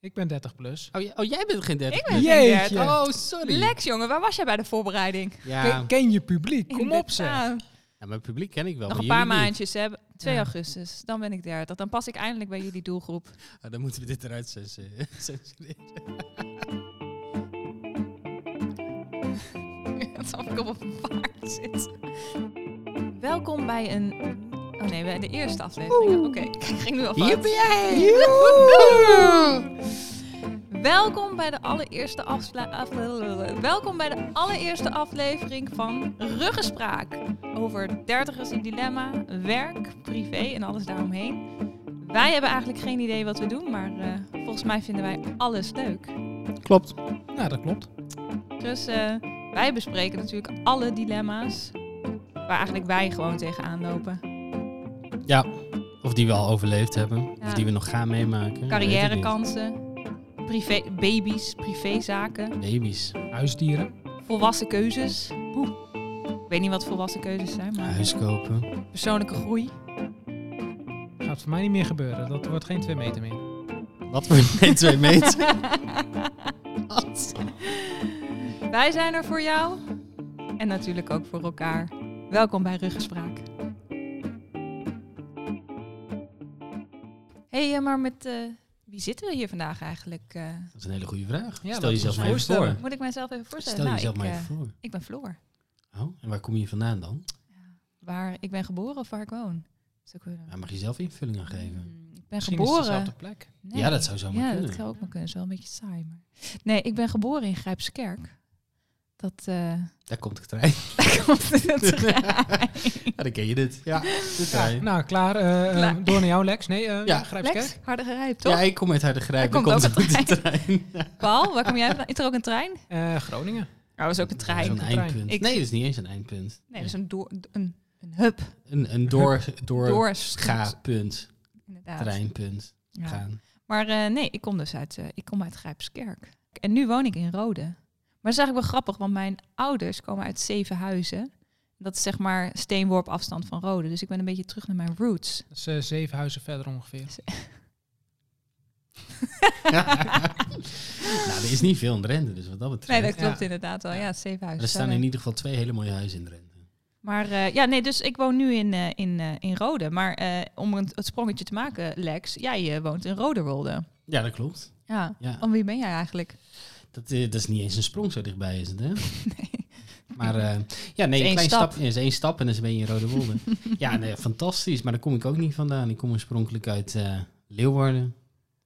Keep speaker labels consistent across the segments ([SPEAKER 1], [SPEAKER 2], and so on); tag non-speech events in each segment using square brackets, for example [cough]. [SPEAKER 1] Ik ben 30 plus.
[SPEAKER 2] Oh, j- oh, jij bent geen 30.
[SPEAKER 3] Ik ben geen
[SPEAKER 1] Jeetje.
[SPEAKER 3] 30.
[SPEAKER 2] Oh, sorry.
[SPEAKER 3] Lex, jongen, waar was jij bij de voorbereiding?
[SPEAKER 2] Ja,
[SPEAKER 1] Ken, ken je publiek? Kom op zeg.
[SPEAKER 3] Inderdaad.
[SPEAKER 2] nou, mijn publiek ken ik wel.
[SPEAKER 3] Nog
[SPEAKER 2] maar
[SPEAKER 3] een Ah, paar
[SPEAKER 2] jullie niet.
[SPEAKER 3] maandjes, hè. 2
[SPEAKER 1] Ja.
[SPEAKER 3] augustus, dan ben ik 30. Dan pas ik eindelijk bij jullie [laughs] doelgroep.
[SPEAKER 2] Ah, dan moeten we dit eruit [laughs] censu- censureren.
[SPEAKER 3] Alsof ik op een paard zit. Welkom bij een... Oh nee, bij de eerste aflevering. Oké, [laughs] ik ging nu alvast.
[SPEAKER 2] Hier ben jij!
[SPEAKER 3] Welkom bij de allereerste afsla- afle- Welkom bij de allereerste aflevering van Ruggespraak. Over dertigers in dilemma, werk, privé en alles daaromheen. Wij hebben eigenlijk geen idee wat we doen, maar eh, volgens mij vinden wij alles leuk.
[SPEAKER 2] Klopt.
[SPEAKER 1] Nou, dat klopt.
[SPEAKER 3] Dus eh, wij bespreken natuurlijk alle dilemma's waar eigenlijk wij gewoon tegenaan lopen.
[SPEAKER 2] Ja, [laughs] of die we al overleefd hebben. Of
[SPEAKER 3] Ja.
[SPEAKER 2] die we nog gaan meemaken.
[SPEAKER 3] Carrièrekansen, privé, baby's, privézaken,
[SPEAKER 2] Baby's.
[SPEAKER 1] Huisdieren.
[SPEAKER 3] volwassen keuzes. Oeh. Ik weet niet wat volwassen keuzes zijn, maar
[SPEAKER 2] Huis kopen.
[SPEAKER 3] persoonlijke groei.
[SPEAKER 1] Gaat voor mij niet meer gebeuren. Dat wordt geen twee meter meer.
[SPEAKER 2] Wat voor [laughs] nee, twee
[SPEAKER 3] [laughs]
[SPEAKER 2] meter.
[SPEAKER 3] Wij zijn er voor jou en natuurlijk ook voor elkaar. Welkom bij Ruggespraak. hey, eh, maar met eh, wie zitten we hier vandaag eigenlijk? eh?
[SPEAKER 2] Dat is een hele goede vraag.
[SPEAKER 1] Ja,
[SPEAKER 2] Stel
[SPEAKER 1] laten we ons
[SPEAKER 2] jezelf maar even
[SPEAKER 1] voorstellen.
[SPEAKER 2] voor.
[SPEAKER 3] moet ik mijzelf even voorstellen?
[SPEAKER 2] Stel
[SPEAKER 3] Nou,
[SPEAKER 2] jezelf
[SPEAKER 3] ik,
[SPEAKER 2] maar even
[SPEAKER 3] eh,
[SPEAKER 2] voor.
[SPEAKER 3] ik ben Floor.
[SPEAKER 2] Oh, en waar kom je vandaan dan?
[SPEAKER 3] Waar ik ben geboren of waar ik woon. Dat is ook weer-
[SPEAKER 2] Ja, mag je zelf invulling aan geven?
[SPEAKER 3] Mm, Ik ben
[SPEAKER 1] Misschien is het
[SPEAKER 3] geboren.
[SPEAKER 1] dezelfde plek.
[SPEAKER 3] Nee.
[SPEAKER 2] Ja, dat zou zomaar
[SPEAKER 3] Ja, dat
[SPEAKER 2] kunnen.
[SPEAKER 3] zou ook maar kunnen. Dat is wel een beetje saai. Maar... Nee, ik ben geboren in Grijpskerk. Dat eh [laughs]
[SPEAKER 2] Daar komt de trein. [laughs]
[SPEAKER 3] daar komt het terrein.
[SPEAKER 2] Ja, dan ken je dit. Ja, de
[SPEAKER 1] Ja,
[SPEAKER 2] trein.
[SPEAKER 1] nou, klaar. eh, eh,
[SPEAKER 3] Klaar.
[SPEAKER 1] door naar jou, Lex. Nee, eh
[SPEAKER 2] Ja.
[SPEAKER 1] Grijpskerk.
[SPEAKER 3] Lex, harder gerijpt, toch?
[SPEAKER 2] Ja, ik kom uit Hardergrijp.
[SPEAKER 3] Daar
[SPEAKER 2] Daar
[SPEAKER 3] komt
[SPEAKER 2] komt
[SPEAKER 3] ook een
[SPEAKER 2] de trein. Ja.
[SPEAKER 3] Paul, waar kom jij vandaan? Is er ook een trein? Oh,
[SPEAKER 1] Eh, Groningen.
[SPEAKER 3] dat is ook een trein.
[SPEAKER 2] Dat is
[SPEAKER 1] Een
[SPEAKER 2] een
[SPEAKER 1] trein.
[SPEAKER 2] eindpunt.
[SPEAKER 3] Ik-
[SPEAKER 2] Nee, dat is niet eens een eindpunt.
[SPEAKER 3] Nee, dat is een, door, een, een hub.
[SPEAKER 2] Een, een door, door,
[SPEAKER 3] Door
[SPEAKER 2] ga-punt.
[SPEAKER 3] Inderdaad.
[SPEAKER 2] Treinpunt.
[SPEAKER 3] Ja.
[SPEAKER 2] Gaan.
[SPEAKER 3] Maar eh, nee, ik kom dus uit, eh, ik kom uit Grijpskerk. En nu woon ik in Rode. Maar dat is eigenlijk wel grappig, want mijn ouders komen uit Zevenhuizen. Dat is zeg maar steenworp afstand van Rode. Dus ik ben een beetje terug naar mijn roots.
[SPEAKER 1] Dat is eh, zeven huizen verder ongeveer.
[SPEAKER 2] nou, er is niet veel in Drenthe, dus wat dat betreft.
[SPEAKER 3] Nee, dat klopt
[SPEAKER 1] Ja.
[SPEAKER 3] inderdaad wel. Ja, Zevenhuizen.
[SPEAKER 2] er staan in ieder geval twee hele mooie huizen in Drenthe.
[SPEAKER 3] Maar eh, ja, nee, dus ik woon nu in, eh, in, eh, in Rode. Maar eh, om een, het sprongetje te maken, Lex, jij eh, woont in Roderwolde.
[SPEAKER 2] Ja, dat klopt.
[SPEAKER 3] Ja.
[SPEAKER 2] Ja.
[SPEAKER 3] Om wie ben jij eigenlijk?
[SPEAKER 2] Oh.
[SPEAKER 3] [laughs]
[SPEAKER 2] Dat, eh, dat is niet eens een sprong zo dichtbij, is het, hè? Maar eh, ja, nee,
[SPEAKER 3] één
[SPEAKER 2] een klein
[SPEAKER 3] stap.
[SPEAKER 2] stap. ja, is één stap en dan ben je in Rode Wolde.
[SPEAKER 3] [laughs]
[SPEAKER 2] ja, nee, fantastisch. Maar daar kom ik ook niet vandaan. Ik kom oorspronkelijk uit eh, Leeuwarden.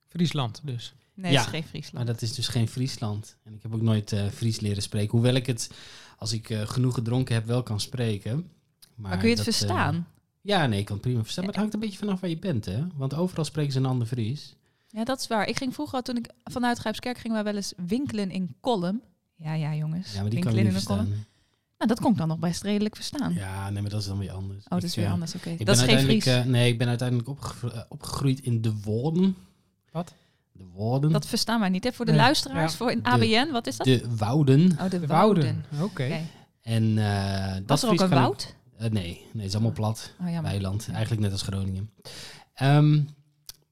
[SPEAKER 1] Friesland dus.
[SPEAKER 3] Nee,
[SPEAKER 2] Ja.
[SPEAKER 3] dat is geen
[SPEAKER 2] Maar
[SPEAKER 3] Friesland.
[SPEAKER 2] dat is dus geen Friesland. En ik heb ook nooit eh, Fries leren spreken. Hoewel ik het, als ik eh, genoeg gedronken heb, wel kan spreken. Maar,
[SPEAKER 3] Maar kun je het
[SPEAKER 2] dat, eh,
[SPEAKER 3] verstaan?
[SPEAKER 2] ja, nee, ik kan het prima verstaan. Maar het hangt een beetje vanaf waar je bent, hè? Want overal spreken ze een ander Fries.
[SPEAKER 3] Ja, dat is waar. Ik ging vroeger, al, toen ik vanuit Grijpskerk ging, wij wel eens winkelen in Kolm. Ja, ja, jongens.
[SPEAKER 2] Ja, maar die kan ik
[SPEAKER 3] winkelen
[SPEAKER 2] niet
[SPEAKER 3] in Kolm.
[SPEAKER 2] verstaan.
[SPEAKER 3] Nou, dat kon ik dan nog best redelijk verstaan.
[SPEAKER 2] Ja, nee, maar dat is dan weer anders.
[SPEAKER 3] Oh, dat is
[SPEAKER 2] Ik,
[SPEAKER 3] weer
[SPEAKER 2] eh,
[SPEAKER 3] anders. Oké,
[SPEAKER 2] Ik
[SPEAKER 3] dat is
[SPEAKER 2] ben
[SPEAKER 3] geen Fries.
[SPEAKER 2] uiteindelijk, eh, nee, ik ben uiteindelijk opgevro- eh, opgegroeid in de Woorden.
[SPEAKER 1] Wat?
[SPEAKER 2] De Woorden.
[SPEAKER 3] dat verstaan wij niet. Hè? Voor de
[SPEAKER 1] Nee.
[SPEAKER 3] luisteraars,
[SPEAKER 1] Ja.
[SPEAKER 3] voor in
[SPEAKER 2] eh, De-
[SPEAKER 3] ABN, wat is dat?
[SPEAKER 2] De Wouden.
[SPEAKER 3] oh, de,
[SPEAKER 1] De
[SPEAKER 3] Wouden.
[SPEAKER 1] Wouden. Oké.
[SPEAKER 3] Oké.
[SPEAKER 2] En eh, dat
[SPEAKER 3] Was er ook
[SPEAKER 2] Fries
[SPEAKER 3] een
[SPEAKER 2] kan ik-
[SPEAKER 3] woud?
[SPEAKER 2] Eh, nee, nee, het is allemaal plat.
[SPEAKER 3] Oh, jammer.
[SPEAKER 2] Weiland. Eigenlijk net als Groningen. Ehm,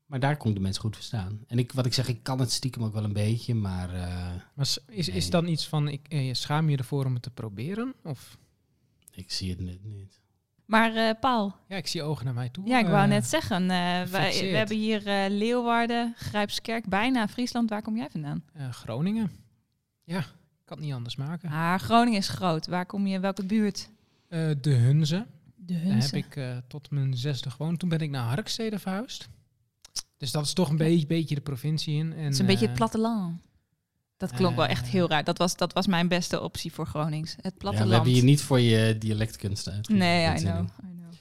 [SPEAKER 2] maar daar kon ik de mensen goed verstaan. En ik, wat ik zeg, ik kan het stiekem ook wel een beetje, maar... eh,
[SPEAKER 1] Maar s- is, is
[SPEAKER 2] Nee.
[SPEAKER 1] dan iets van, ik, eh, schaam je ervoor om het te proberen? Of,
[SPEAKER 2] ik zie het net niet.
[SPEAKER 3] Maar eh Paul,
[SPEAKER 1] ja, ik zie ogen naar mij toe.
[SPEAKER 3] Ja, ik wou
[SPEAKER 1] Eh,
[SPEAKER 3] net zeggen, eh, wij, we
[SPEAKER 1] gefixeerd.
[SPEAKER 3] hebben hier eh, Leeuwarden, Grijpskerk, bijna Friesland. Waar kom jij vandaan?
[SPEAKER 1] eh, Groningen. Ja, ik kan het niet anders maken.
[SPEAKER 3] Ah, Groningen is groot. Waar kom je, welke buurt?
[SPEAKER 1] Eh, de Hunze.
[SPEAKER 3] De
[SPEAKER 1] Daar heb ik eh, tot mijn zesde gewoond. Toen ben ik naar Harkstede verhuisd. Dus dat is toch een be- beetje de provincie in. En,
[SPEAKER 3] Het is een beetje het
[SPEAKER 1] eh,
[SPEAKER 3] platteland. Dat klonk wel echt
[SPEAKER 1] eh,
[SPEAKER 3] heel raar. Dat was, dat was mijn beste optie voor Gronings. Het
[SPEAKER 2] Ja, we
[SPEAKER 3] platteland.
[SPEAKER 2] hebben je niet voor je dialectkunst uit.
[SPEAKER 3] nee, I
[SPEAKER 2] Dat, eh,
[SPEAKER 3] know. I know.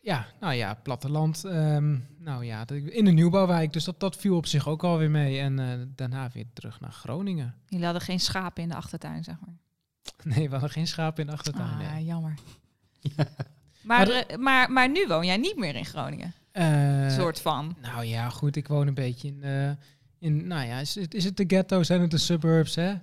[SPEAKER 1] Ja, nou ja, platteland. ehm, nou ja, de- in een nieuwbouwwijk. Dus dat, dat viel op zich ook alweer mee. En eh, daarna weer terug naar Groningen. [laughs]
[SPEAKER 3] Jullie hadden geen schapen in de achtertuin, zeg maar.
[SPEAKER 1] Nee, we hadden geen schapen in de achtertuin.
[SPEAKER 3] Ah,
[SPEAKER 1] nee.
[SPEAKER 3] jammer.
[SPEAKER 2] Ja.
[SPEAKER 3] Maar,
[SPEAKER 1] Maar de-
[SPEAKER 3] eh, maar, maar nu woon jij niet meer in Groningen.
[SPEAKER 1] Eh,
[SPEAKER 3] soort van.
[SPEAKER 1] Nou ja, goed, ik woon een beetje in... eh, in nou ja, is, het- is het de ghetto? Zijn het de suburbs, hè?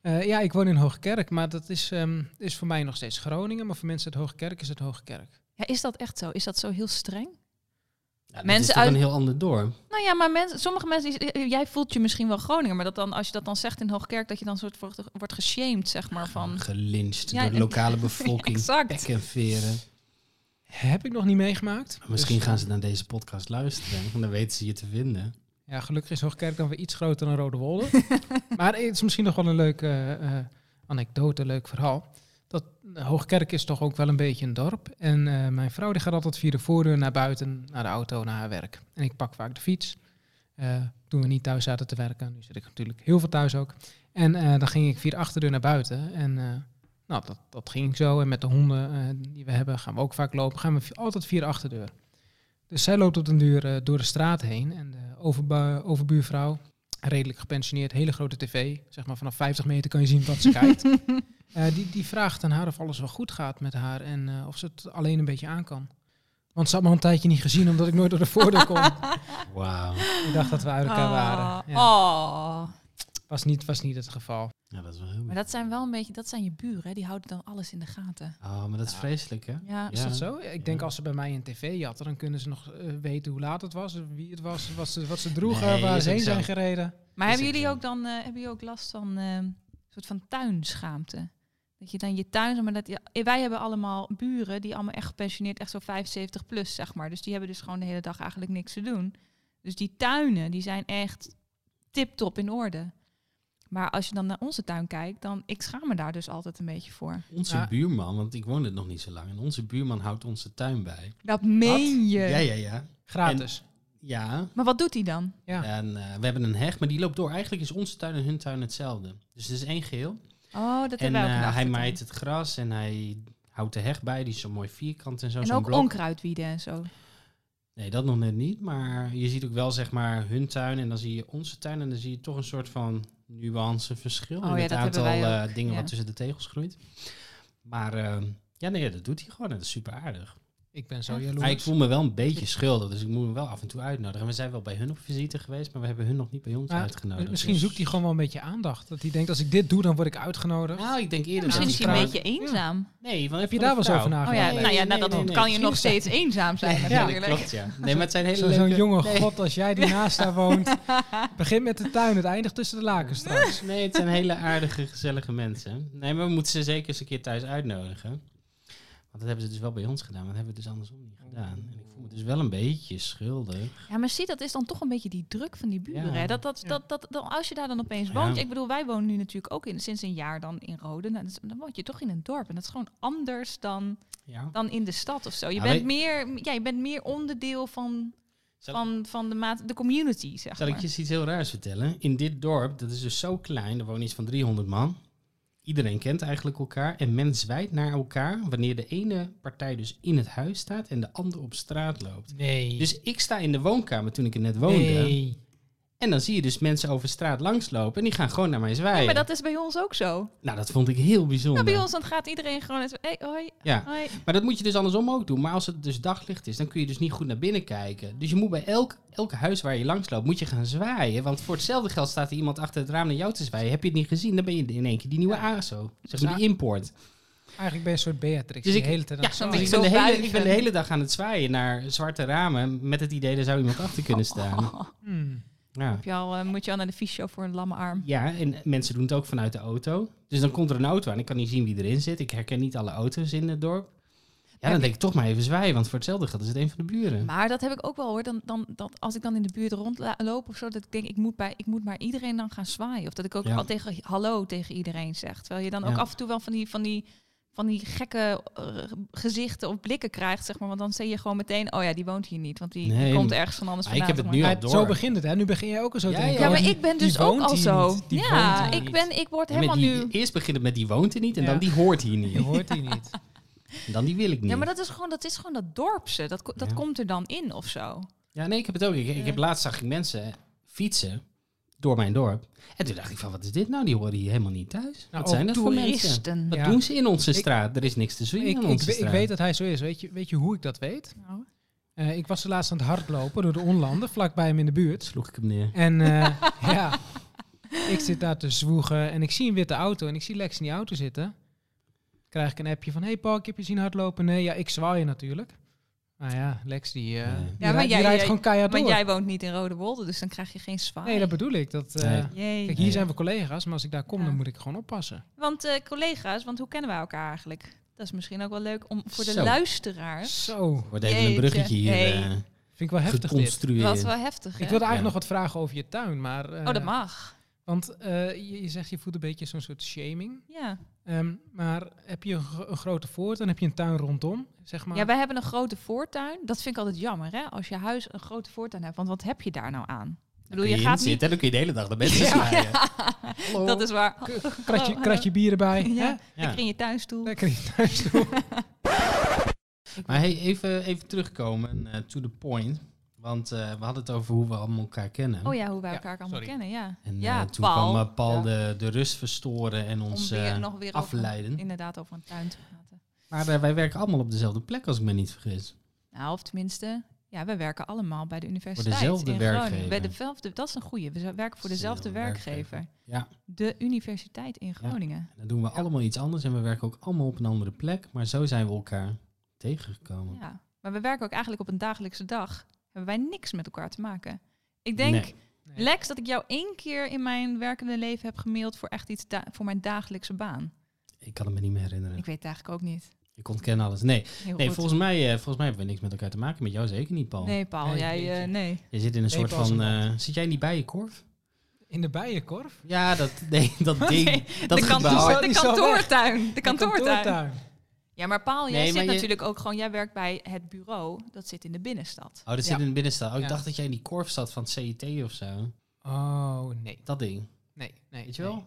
[SPEAKER 1] Eh, ja, ik woon in Hoogkerk, maar dat is, ehm, is voor mij nog steeds Groningen. Maar voor mensen uit Hoogkerk is het Hoogkerk.
[SPEAKER 3] Ja, is dat echt zo? Is dat zo heel streng?
[SPEAKER 2] Ja, dat
[SPEAKER 3] Mensen
[SPEAKER 2] is toch
[SPEAKER 3] uit-
[SPEAKER 2] een heel ander dorp.
[SPEAKER 3] Nou ja, maar mensen, sommige mensen, die, jij voelt je misschien wel Groninger, maar dat dan, als je dat dan zegt in Hoogkerk, dat je dan soort wordt, wordt geshamed, zeg maar, [laughs] van...
[SPEAKER 2] Gelinst
[SPEAKER 3] Ja,
[SPEAKER 2] door de
[SPEAKER 3] en- [laughs]
[SPEAKER 2] lokale bevolking.
[SPEAKER 3] Exact.
[SPEAKER 2] Pek en veren.
[SPEAKER 1] Heb ik nog niet meegemaakt.
[SPEAKER 2] Nou, Misschien
[SPEAKER 1] Dus-
[SPEAKER 2] gaan ze naar deze podcast luisteren. En dan weten ze je te vinden.
[SPEAKER 1] Ja, gelukkig is Hoogkerk dan weer iets groter dan Rode Wolde. maar het is misschien nog wel een leuke eh, eh, anekdote, leuk verhaal. Dat eh, Hoogkerk is toch ook wel een beetje een dorp. En eh, mijn vrouw die gaat altijd via de voordeur naar buiten, naar de auto, naar haar werk. En ik pak vaak de fiets. Eh, toen we niet thuis zaten te werken, nu zit ik natuurlijk heel veel thuis ook. En eh, dan ging ik via de achterdeur naar buiten. En eh, nou, dat, dat ging zo. En met de honden eh, die we hebben, gaan we ook vaak lopen. Gaan we vi- altijd via de achterdeur. Dus zij loopt op den duur eh, door de straat heen. En de overbu- overbuurvrouw, redelijk gepensioneerd, hele grote tv. Zeg maar vanaf 50 meter kan je zien wat ze kijkt. Eh, die, die vraagt aan haar of alles wel goed gaat met haar. En eh, of ze het alleen een beetje aan kan. Want ze had me al een tijdje niet gezien, omdat ik nooit door de voordeur kon.
[SPEAKER 2] Wauw.
[SPEAKER 1] ik dacht dat we uit elkaar
[SPEAKER 3] Ah,
[SPEAKER 1] waren. Ja,
[SPEAKER 3] Oh.
[SPEAKER 1] was, niet, was niet het geval.
[SPEAKER 2] Ja, dat is wel heel
[SPEAKER 3] Maar dat zijn wel een beetje, dat zijn je buren, hè? die houden dan alles in de gaten.
[SPEAKER 2] Oh, maar dat is
[SPEAKER 1] Ja.
[SPEAKER 2] vreselijk, hè?
[SPEAKER 3] Ja,
[SPEAKER 1] Is
[SPEAKER 2] Ja.
[SPEAKER 1] dat zo? Ik denk
[SPEAKER 2] Ja.
[SPEAKER 1] als ze bij mij een tv jatten, dan kunnen ze nog eh, weten hoe laat het was, wie het was, wat ze, wat ze droegen,
[SPEAKER 2] Nee,
[SPEAKER 1] waar
[SPEAKER 2] is
[SPEAKER 1] ze
[SPEAKER 2] ook
[SPEAKER 1] heen
[SPEAKER 2] zo.
[SPEAKER 1] zijn gereden.
[SPEAKER 3] maar
[SPEAKER 2] Is
[SPEAKER 3] hebben
[SPEAKER 2] ook
[SPEAKER 3] jullie
[SPEAKER 2] zo.
[SPEAKER 3] ook dan eh, hebben jullie ook last van eh, een soort van tuinschaamte? Dat je dan je tuin, maar dat je- wij hebben allemaal buren die allemaal echt gepensioneerd, echt zo 75 plus, zeg maar. Dus die hebben dus gewoon de hele dag eigenlijk niks te doen. Dus die tuinen, die zijn echt tip-top in orde. Maar als je dan naar onze tuin kijkt, dan ik schaam me daar dus altijd een beetje voor.
[SPEAKER 2] Onze
[SPEAKER 1] Ja.
[SPEAKER 2] buurman, want ik woon het nog niet zo lang. En onze buurman houdt onze tuin bij.
[SPEAKER 3] Dat meen je.
[SPEAKER 2] Ja, ja, ja.
[SPEAKER 1] Gratis.
[SPEAKER 2] Ja.
[SPEAKER 3] Maar wat doet hij dan?
[SPEAKER 1] Ja.
[SPEAKER 2] En eh, we hebben een heg, maar die loopt door. Eigenlijk is onze tuin en hun tuin hetzelfde. Dus het is één geheel.
[SPEAKER 3] Oh, dat
[SPEAKER 2] en
[SPEAKER 3] hebben wij
[SPEAKER 2] eh,
[SPEAKER 3] ook in de
[SPEAKER 2] hij
[SPEAKER 3] achtertuin.
[SPEAKER 2] maait het gras en hij houdt de heg bij. Die is zo mooi vierkant en zo.
[SPEAKER 3] En
[SPEAKER 2] zo'n
[SPEAKER 3] ook
[SPEAKER 2] blok.
[SPEAKER 3] onkruidwieden en zo.
[SPEAKER 2] Nee, dat nog net niet. Maar je ziet ook wel zeg maar hun tuin en dan zie je onze tuin. En dan zie je toch een soort van nuanceverschil
[SPEAKER 3] Oh
[SPEAKER 2] in
[SPEAKER 3] ja,
[SPEAKER 2] het
[SPEAKER 3] dat hebben
[SPEAKER 2] aantal
[SPEAKER 3] wij
[SPEAKER 2] eh,
[SPEAKER 3] ook,
[SPEAKER 2] dingen
[SPEAKER 3] ja.
[SPEAKER 2] wat tussen de tegels groeit. Maar eh, ja, nee, dat doet hij gewoon. En dat is super aardig.
[SPEAKER 1] Ik ben zo
[SPEAKER 3] Echt?
[SPEAKER 1] jaloers.
[SPEAKER 2] Maar ik voel me wel een beetje schuldig, dus ik moet hem wel af en toe uitnodigen. En we zijn wel bij hun op visite geweest, maar we hebben hun nog niet bij ons
[SPEAKER 1] Maar
[SPEAKER 2] uitgenodigd.
[SPEAKER 1] Misschien
[SPEAKER 2] dus-
[SPEAKER 1] zoekt hij gewoon wel een beetje aandacht. Dat hij denkt, als ik dit doe, dan word ik uitgenodigd.
[SPEAKER 2] Nou, ik denk eerder...
[SPEAKER 3] misschien
[SPEAKER 2] dat
[SPEAKER 3] is hij een
[SPEAKER 1] trouwens-
[SPEAKER 3] beetje eenzaam.
[SPEAKER 2] Nee, want
[SPEAKER 1] Heb je daar wel eens over
[SPEAKER 3] Oh
[SPEAKER 1] nagedacht?
[SPEAKER 3] ja,
[SPEAKER 2] Nee,
[SPEAKER 3] nou ja,
[SPEAKER 2] nee,
[SPEAKER 3] nou, dat
[SPEAKER 2] nee, nee.
[SPEAKER 3] kan je nog
[SPEAKER 1] Misschien
[SPEAKER 3] steeds eenzaam
[SPEAKER 2] [laughs]
[SPEAKER 3] zijn
[SPEAKER 2] Ja,
[SPEAKER 3] natuurlijk.
[SPEAKER 2] dat klopt, ja. Nee, maar het zijn hele
[SPEAKER 1] Zo-
[SPEAKER 2] leuke...
[SPEAKER 1] Zo'n jonge
[SPEAKER 2] nee.
[SPEAKER 1] god als
[SPEAKER 2] [laughs]
[SPEAKER 1] jij die naast daar woont. Begin met de tuin, het eindigt tussen de lakens straks.
[SPEAKER 2] [laughs] Nee, het zijn hele aardige, gezellige mensen. Nee, maar we moeten ze zeker eens een keer thuis uitnodigen. Want dat hebben ze dus wel bij ons gedaan, maar dat hebben we dus andersom niet gedaan. En ik voel me dus wel een beetje schuldig.
[SPEAKER 3] Ja, maar zie, dat is dan toch een beetje die druk van die buren.
[SPEAKER 2] Ja.
[SPEAKER 3] Hè? Dat, dat,
[SPEAKER 1] Ja.
[SPEAKER 3] dat, dat, dan, als je daar dan opeens
[SPEAKER 2] Ja.
[SPEAKER 3] woont. Ik bedoel, wij wonen nu natuurlijk ook in, sinds een jaar dan in Rode. Nou, dat is- dan woon je toch in een dorp. En dat is gewoon anders dan,
[SPEAKER 2] Ja.
[SPEAKER 3] dan in de stad of zo. Je,
[SPEAKER 2] Ja,
[SPEAKER 3] bent,
[SPEAKER 2] wij-
[SPEAKER 3] meer, ja, je bent meer onderdeel van,
[SPEAKER 2] Zal-
[SPEAKER 3] van, van de, maat, de community, zeg
[SPEAKER 2] Zal ik
[SPEAKER 3] maar.
[SPEAKER 2] je eens iets heel raars vertellen? In dit dorp, dat is dus zo klein, er wonen iets van 300 man. Iedereen kent eigenlijk elkaar en men zwijgt naar elkaar wanneer de ene partij dus in het huis staat en de andere op straat loopt.
[SPEAKER 1] Nee.
[SPEAKER 2] Dus ik sta in de woonkamer toen ik er net woonde.
[SPEAKER 1] nee.
[SPEAKER 2] En dan zie je dus mensen over straat langslopen en die gaan gewoon naar mij zwaaien.
[SPEAKER 3] Ja, maar dat is bij ons ook zo.
[SPEAKER 2] Nou, dat vond ik heel
[SPEAKER 3] Ja,
[SPEAKER 2] bijzonder.
[SPEAKER 3] bij ons dan gaat iedereen gewoon... eens- Hey, hoi,
[SPEAKER 2] Ja.
[SPEAKER 3] hoi.
[SPEAKER 2] Maar dat moet je dus andersom ook doen. Maar als het dus daglicht is, dan kun je dus niet goed naar binnen kijken. Dus je moet bij elk, elk huis waar je langs loopt, moet je gaan zwaaien. Want voor hetzelfde geld staat er iemand achter het raam naar jou te zwaaien. Heb je het niet gezien, dan ben je in één keer die nieuwe ASO. Zeg maar die import.
[SPEAKER 1] Eigenlijk ben je een soort Beatrix.
[SPEAKER 2] Dus
[SPEAKER 1] die
[SPEAKER 2] ik-
[SPEAKER 1] de hele tijd aan
[SPEAKER 3] ja,
[SPEAKER 1] het
[SPEAKER 3] zo'n
[SPEAKER 1] zwaaien is.
[SPEAKER 2] Dus ik
[SPEAKER 3] beetje
[SPEAKER 2] ben,
[SPEAKER 3] zo
[SPEAKER 2] de hele,
[SPEAKER 3] wuiven.
[SPEAKER 2] ik ben de hele dag aan het zwaaien naar zwarte ramen. Met het idee, daar zou iemand achter [laughs] kunnen staan.
[SPEAKER 1] Hmm.
[SPEAKER 2] Ja.
[SPEAKER 3] Heb je al, eh, moet je al naar de fysio voor een lamme arm?
[SPEAKER 2] Ja, en mensen doen het ook vanuit de auto. Dus dan komt er een auto aan. Ik kan niet zien wie erin zit. Ik herken niet alle auto's in het dorp. Ja, dan denk ik toch maar even zwaaien. Want voor hetzelfde geld is het een van de buren.
[SPEAKER 3] Maar dat heb ik ook wel hoor. Dan, dan, dat, als ik dan in de buurt rondloop of zo, dat ik denk, ik moet, bij, ik moet maar iedereen dan gaan zwaaien. Of dat ik ook
[SPEAKER 2] Ja.
[SPEAKER 3] al tegen hallo tegen iedereen zeg. Terwijl je dan ook
[SPEAKER 2] Ja.
[SPEAKER 3] af en toe wel van die, van die, van die gekke eh, gezichten of blikken krijgt, zeg maar. Want dan zie je gewoon meteen, oh ja, die woont hier niet. Want die, die
[SPEAKER 2] Nee,
[SPEAKER 3] komt ergens van anders
[SPEAKER 2] maar ik
[SPEAKER 3] vandaan.
[SPEAKER 2] heb het
[SPEAKER 3] zeg
[SPEAKER 2] nu
[SPEAKER 3] maar.
[SPEAKER 1] Maar Ah,
[SPEAKER 2] al
[SPEAKER 1] het-
[SPEAKER 2] door.
[SPEAKER 1] zo begint het, hè? Nu begin jij ook al zo
[SPEAKER 2] Ja,
[SPEAKER 1] te denken.
[SPEAKER 2] ja.
[SPEAKER 3] Ja,
[SPEAKER 1] oh,
[SPEAKER 3] maar
[SPEAKER 1] die-
[SPEAKER 3] ik ben
[SPEAKER 1] die
[SPEAKER 3] dus ook
[SPEAKER 1] woont
[SPEAKER 3] al
[SPEAKER 1] hier
[SPEAKER 3] zo.
[SPEAKER 1] niet. Die woont
[SPEAKER 3] ja,
[SPEAKER 1] hier
[SPEAKER 3] ik,
[SPEAKER 1] niet.
[SPEAKER 3] ben, ik word
[SPEAKER 2] Ja, maar
[SPEAKER 3] helemaal
[SPEAKER 2] die,
[SPEAKER 3] nu...
[SPEAKER 2] Eerst beginnen met die woont er niet en
[SPEAKER 1] Ja.
[SPEAKER 2] dan die hoort hier
[SPEAKER 1] Je
[SPEAKER 2] niet.
[SPEAKER 1] hoort die niet.
[SPEAKER 2] En dan die wil ik niet.
[SPEAKER 3] Ja, maar dat is gewoon dat, is gewoon dat dorpse. Dat, ko- dat
[SPEAKER 2] Ja.
[SPEAKER 3] komt er dan in of zo.
[SPEAKER 2] Ja, nee, ik heb het ook. Ik, ik heb laatst zag ik mensen fietsen door mijn dorp. En toen dacht ik van, wat is dit nou? Die horen hier helemaal niet
[SPEAKER 1] [laughs]
[SPEAKER 2] thuis.
[SPEAKER 1] Nou,
[SPEAKER 2] wat zijn dat voor mensen?
[SPEAKER 3] Toeristen.
[SPEAKER 2] Wat
[SPEAKER 1] Ja.
[SPEAKER 2] doen ze in onze
[SPEAKER 1] Ik-
[SPEAKER 2] straat? Er is niks te zien
[SPEAKER 1] Ik,
[SPEAKER 2] in
[SPEAKER 1] ik,
[SPEAKER 2] onze
[SPEAKER 1] we- ik
[SPEAKER 2] straat.
[SPEAKER 1] weet dat hij zo is. Weet je, weet je hoe ik dat weet?
[SPEAKER 3] Nou,
[SPEAKER 1] Eh, ik was er laatst aan het hardlopen door de onlanden, vlakbij hem in de buurt.
[SPEAKER 2] Sloeg ik hem neer.
[SPEAKER 1] En eh,
[SPEAKER 3] [laughs]
[SPEAKER 1] ja, ik zit daar te zwoegen en ik zie een witte auto en ik zie Lex in die auto zitten. Krijg ik een appje van, hey Paul, ik heb je zien hardlopen. Nee, ja, ik zwaai je natuurlijk. Maar ja, Lex die, eh,
[SPEAKER 2] Ja.
[SPEAKER 1] die
[SPEAKER 2] Ja,
[SPEAKER 1] rijdt-
[SPEAKER 3] maar
[SPEAKER 1] die
[SPEAKER 3] jij-
[SPEAKER 1] rijdt
[SPEAKER 3] jij-
[SPEAKER 1] gewoon keihard
[SPEAKER 3] Maar
[SPEAKER 1] door.
[SPEAKER 3] jij woont niet in Rode Wolde, dus dan krijg je geen zwaai.
[SPEAKER 1] Nee, dat bedoel ik. Dat, eh,
[SPEAKER 2] Nee.
[SPEAKER 3] Jee.
[SPEAKER 1] Kijk, hier
[SPEAKER 2] Ja.
[SPEAKER 1] zijn we collega's, maar als ik daar kom,
[SPEAKER 3] Ja.
[SPEAKER 1] dan moet ik gewoon oppassen.
[SPEAKER 3] Want eh, collega's, want hoe kennen wij elkaar eigenlijk? Dat is misschien ook wel leuk om voor de
[SPEAKER 2] Zo.
[SPEAKER 3] luisteraars.
[SPEAKER 1] Zo,
[SPEAKER 2] Wordt even
[SPEAKER 3] Jeetje.
[SPEAKER 2] een bruggetje hier
[SPEAKER 3] Hey.
[SPEAKER 2] eh,
[SPEAKER 1] vind ik wel heftig dit.
[SPEAKER 3] Dat was
[SPEAKER 2] geconstrueerd.
[SPEAKER 3] wel heftig, hè?
[SPEAKER 1] Ik wilde eigenlijk
[SPEAKER 2] Ja.
[SPEAKER 1] nog wat vragen over je tuin, maar... eh,
[SPEAKER 3] Oh, dat mag.
[SPEAKER 1] Want eh, je, je zegt, je voelt een beetje zo'n soort shaming.
[SPEAKER 3] Ja.
[SPEAKER 1] Ehm, maar heb je een, gro- een grote voort en heb je een tuin rondom, zeg maar?
[SPEAKER 3] ja, wij hebben een grote voortuin. Dat vind ik altijd jammer, hè? Als je huis een grote voortuin hebt. Want wat heb je daar nou aan? Ik bedoel, je
[SPEAKER 2] Kun
[SPEAKER 3] gaat niet...
[SPEAKER 2] zitten, dan kun je de hele dag de
[SPEAKER 3] [laughs]
[SPEAKER 2] mensen
[SPEAKER 3] Ja.
[SPEAKER 2] zwaaien.
[SPEAKER 1] Hallo,
[SPEAKER 3] Dat is waar.
[SPEAKER 1] k- kratje, kratje bier erbij.
[SPEAKER 3] Oh, Ja.
[SPEAKER 1] Oh. hè?
[SPEAKER 2] Ja.
[SPEAKER 3] Lekker in je tuinstoel.
[SPEAKER 1] Lekker in thuis doen.
[SPEAKER 2] Maar hey, even, even terugkomen eh, to the point. Want eh, we hadden het over hoe we allemaal elkaar kennen.
[SPEAKER 3] Oh ja, hoe wij
[SPEAKER 1] Ja,
[SPEAKER 3] elkaar allemaal
[SPEAKER 1] sorry.
[SPEAKER 3] kennen, ja.
[SPEAKER 2] En eh,
[SPEAKER 3] ja,
[SPEAKER 2] toen kwam eh, Paul de, de rust verstoren en
[SPEAKER 3] Om
[SPEAKER 2] ons
[SPEAKER 3] weer,
[SPEAKER 2] eh,
[SPEAKER 3] nog weer
[SPEAKER 2] afleiden.
[SPEAKER 3] Over, inderdaad over een tuin te praten.
[SPEAKER 2] Maar eh, wij werken allemaal op dezelfde plek, als ik me niet vergis.
[SPEAKER 3] Nou, of tenminste... Ja, we werken allemaal bij de universiteit
[SPEAKER 2] dezelfde
[SPEAKER 3] in Groningen.
[SPEAKER 2] werkgever.
[SPEAKER 3] Bij dezelfde, dat is een goeie. We werken voor dezelfde
[SPEAKER 2] Dezelfde werkgever.
[SPEAKER 3] werkgever.
[SPEAKER 2] Ja.
[SPEAKER 3] De universiteit in Groningen.
[SPEAKER 2] En dan doen we allemaal iets anders en we werken ook allemaal op een andere plek. Maar zo zijn we elkaar tegengekomen.
[SPEAKER 3] Ja, maar we werken ook eigenlijk op een dagelijkse dag. Hebben wij niks met elkaar te maken. Ik denk,
[SPEAKER 2] Nee.
[SPEAKER 1] Nee.
[SPEAKER 3] Lex, dat ik jou één keer in mijn werkende leven heb gemaild voor echt iets da- voor mijn dagelijkse baan.
[SPEAKER 2] Ik kan het me niet meer herinneren.
[SPEAKER 3] Ik
[SPEAKER 2] Ik,
[SPEAKER 3] weet het eigenlijk ook niet.
[SPEAKER 2] ontken alles. Nee,
[SPEAKER 3] Heel
[SPEAKER 2] nee
[SPEAKER 3] goed.
[SPEAKER 2] volgens, mij, eh, volgens mij hebben we niks met elkaar te maken. Met jou zeker niet, Paul.
[SPEAKER 3] Nee, Paul,
[SPEAKER 1] Nee,
[SPEAKER 3] jij
[SPEAKER 1] jeetje.
[SPEAKER 3] eh, nee.
[SPEAKER 2] Je zit in een
[SPEAKER 1] Nee,
[SPEAKER 2] soort
[SPEAKER 1] Paul is
[SPEAKER 2] van...
[SPEAKER 1] een
[SPEAKER 2] eh, zit jij niet bij je korf?
[SPEAKER 1] In de bijenkorf?
[SPEAKER 2] Ja, dat, [laughs] nee, dat ding.
[SPEAKER 3] Nee, dus
[SPEAKER 2] dat Oh,
[SPEAKER 3] de,
[SPEAKER 2] gebouw.
[SPEAKER 1] is
[SPEAKER 3] kantoor,
[SPEAKER 1] wel-
[SPEAKER 3] de
[SPEAKER 1] die is wel weg.
[SPEAKER 3] kantoortuin. De kantoortuin. Ja, maar Paul, jij
[SPEAKER 2] Nee,
[SPEAKER 3] zit
[SPEAKER 2] maar je-
[SPEAKER 3] natuurlijk ook gewoon, jij werkt bij het bureau. Dat zit in de binnenstad.
[SPEAKER 2] Oh, dat
[SPEAKER 1] Ja.
[SPEAKER 2] zit in de binnenstad. Oh, ik
[SPEAKER 1] Ja.
[SPEAKER 2] dacht dat jij in die korf zat van het CIT of zo.
[SPEAKER 1] Oh, nee.
[SPEAKER 2] Dat ding.
[SPEAKER 1] Nee, nee.
[SPEAKER 2] Weet je wel?
[SPEAKER 1] nee.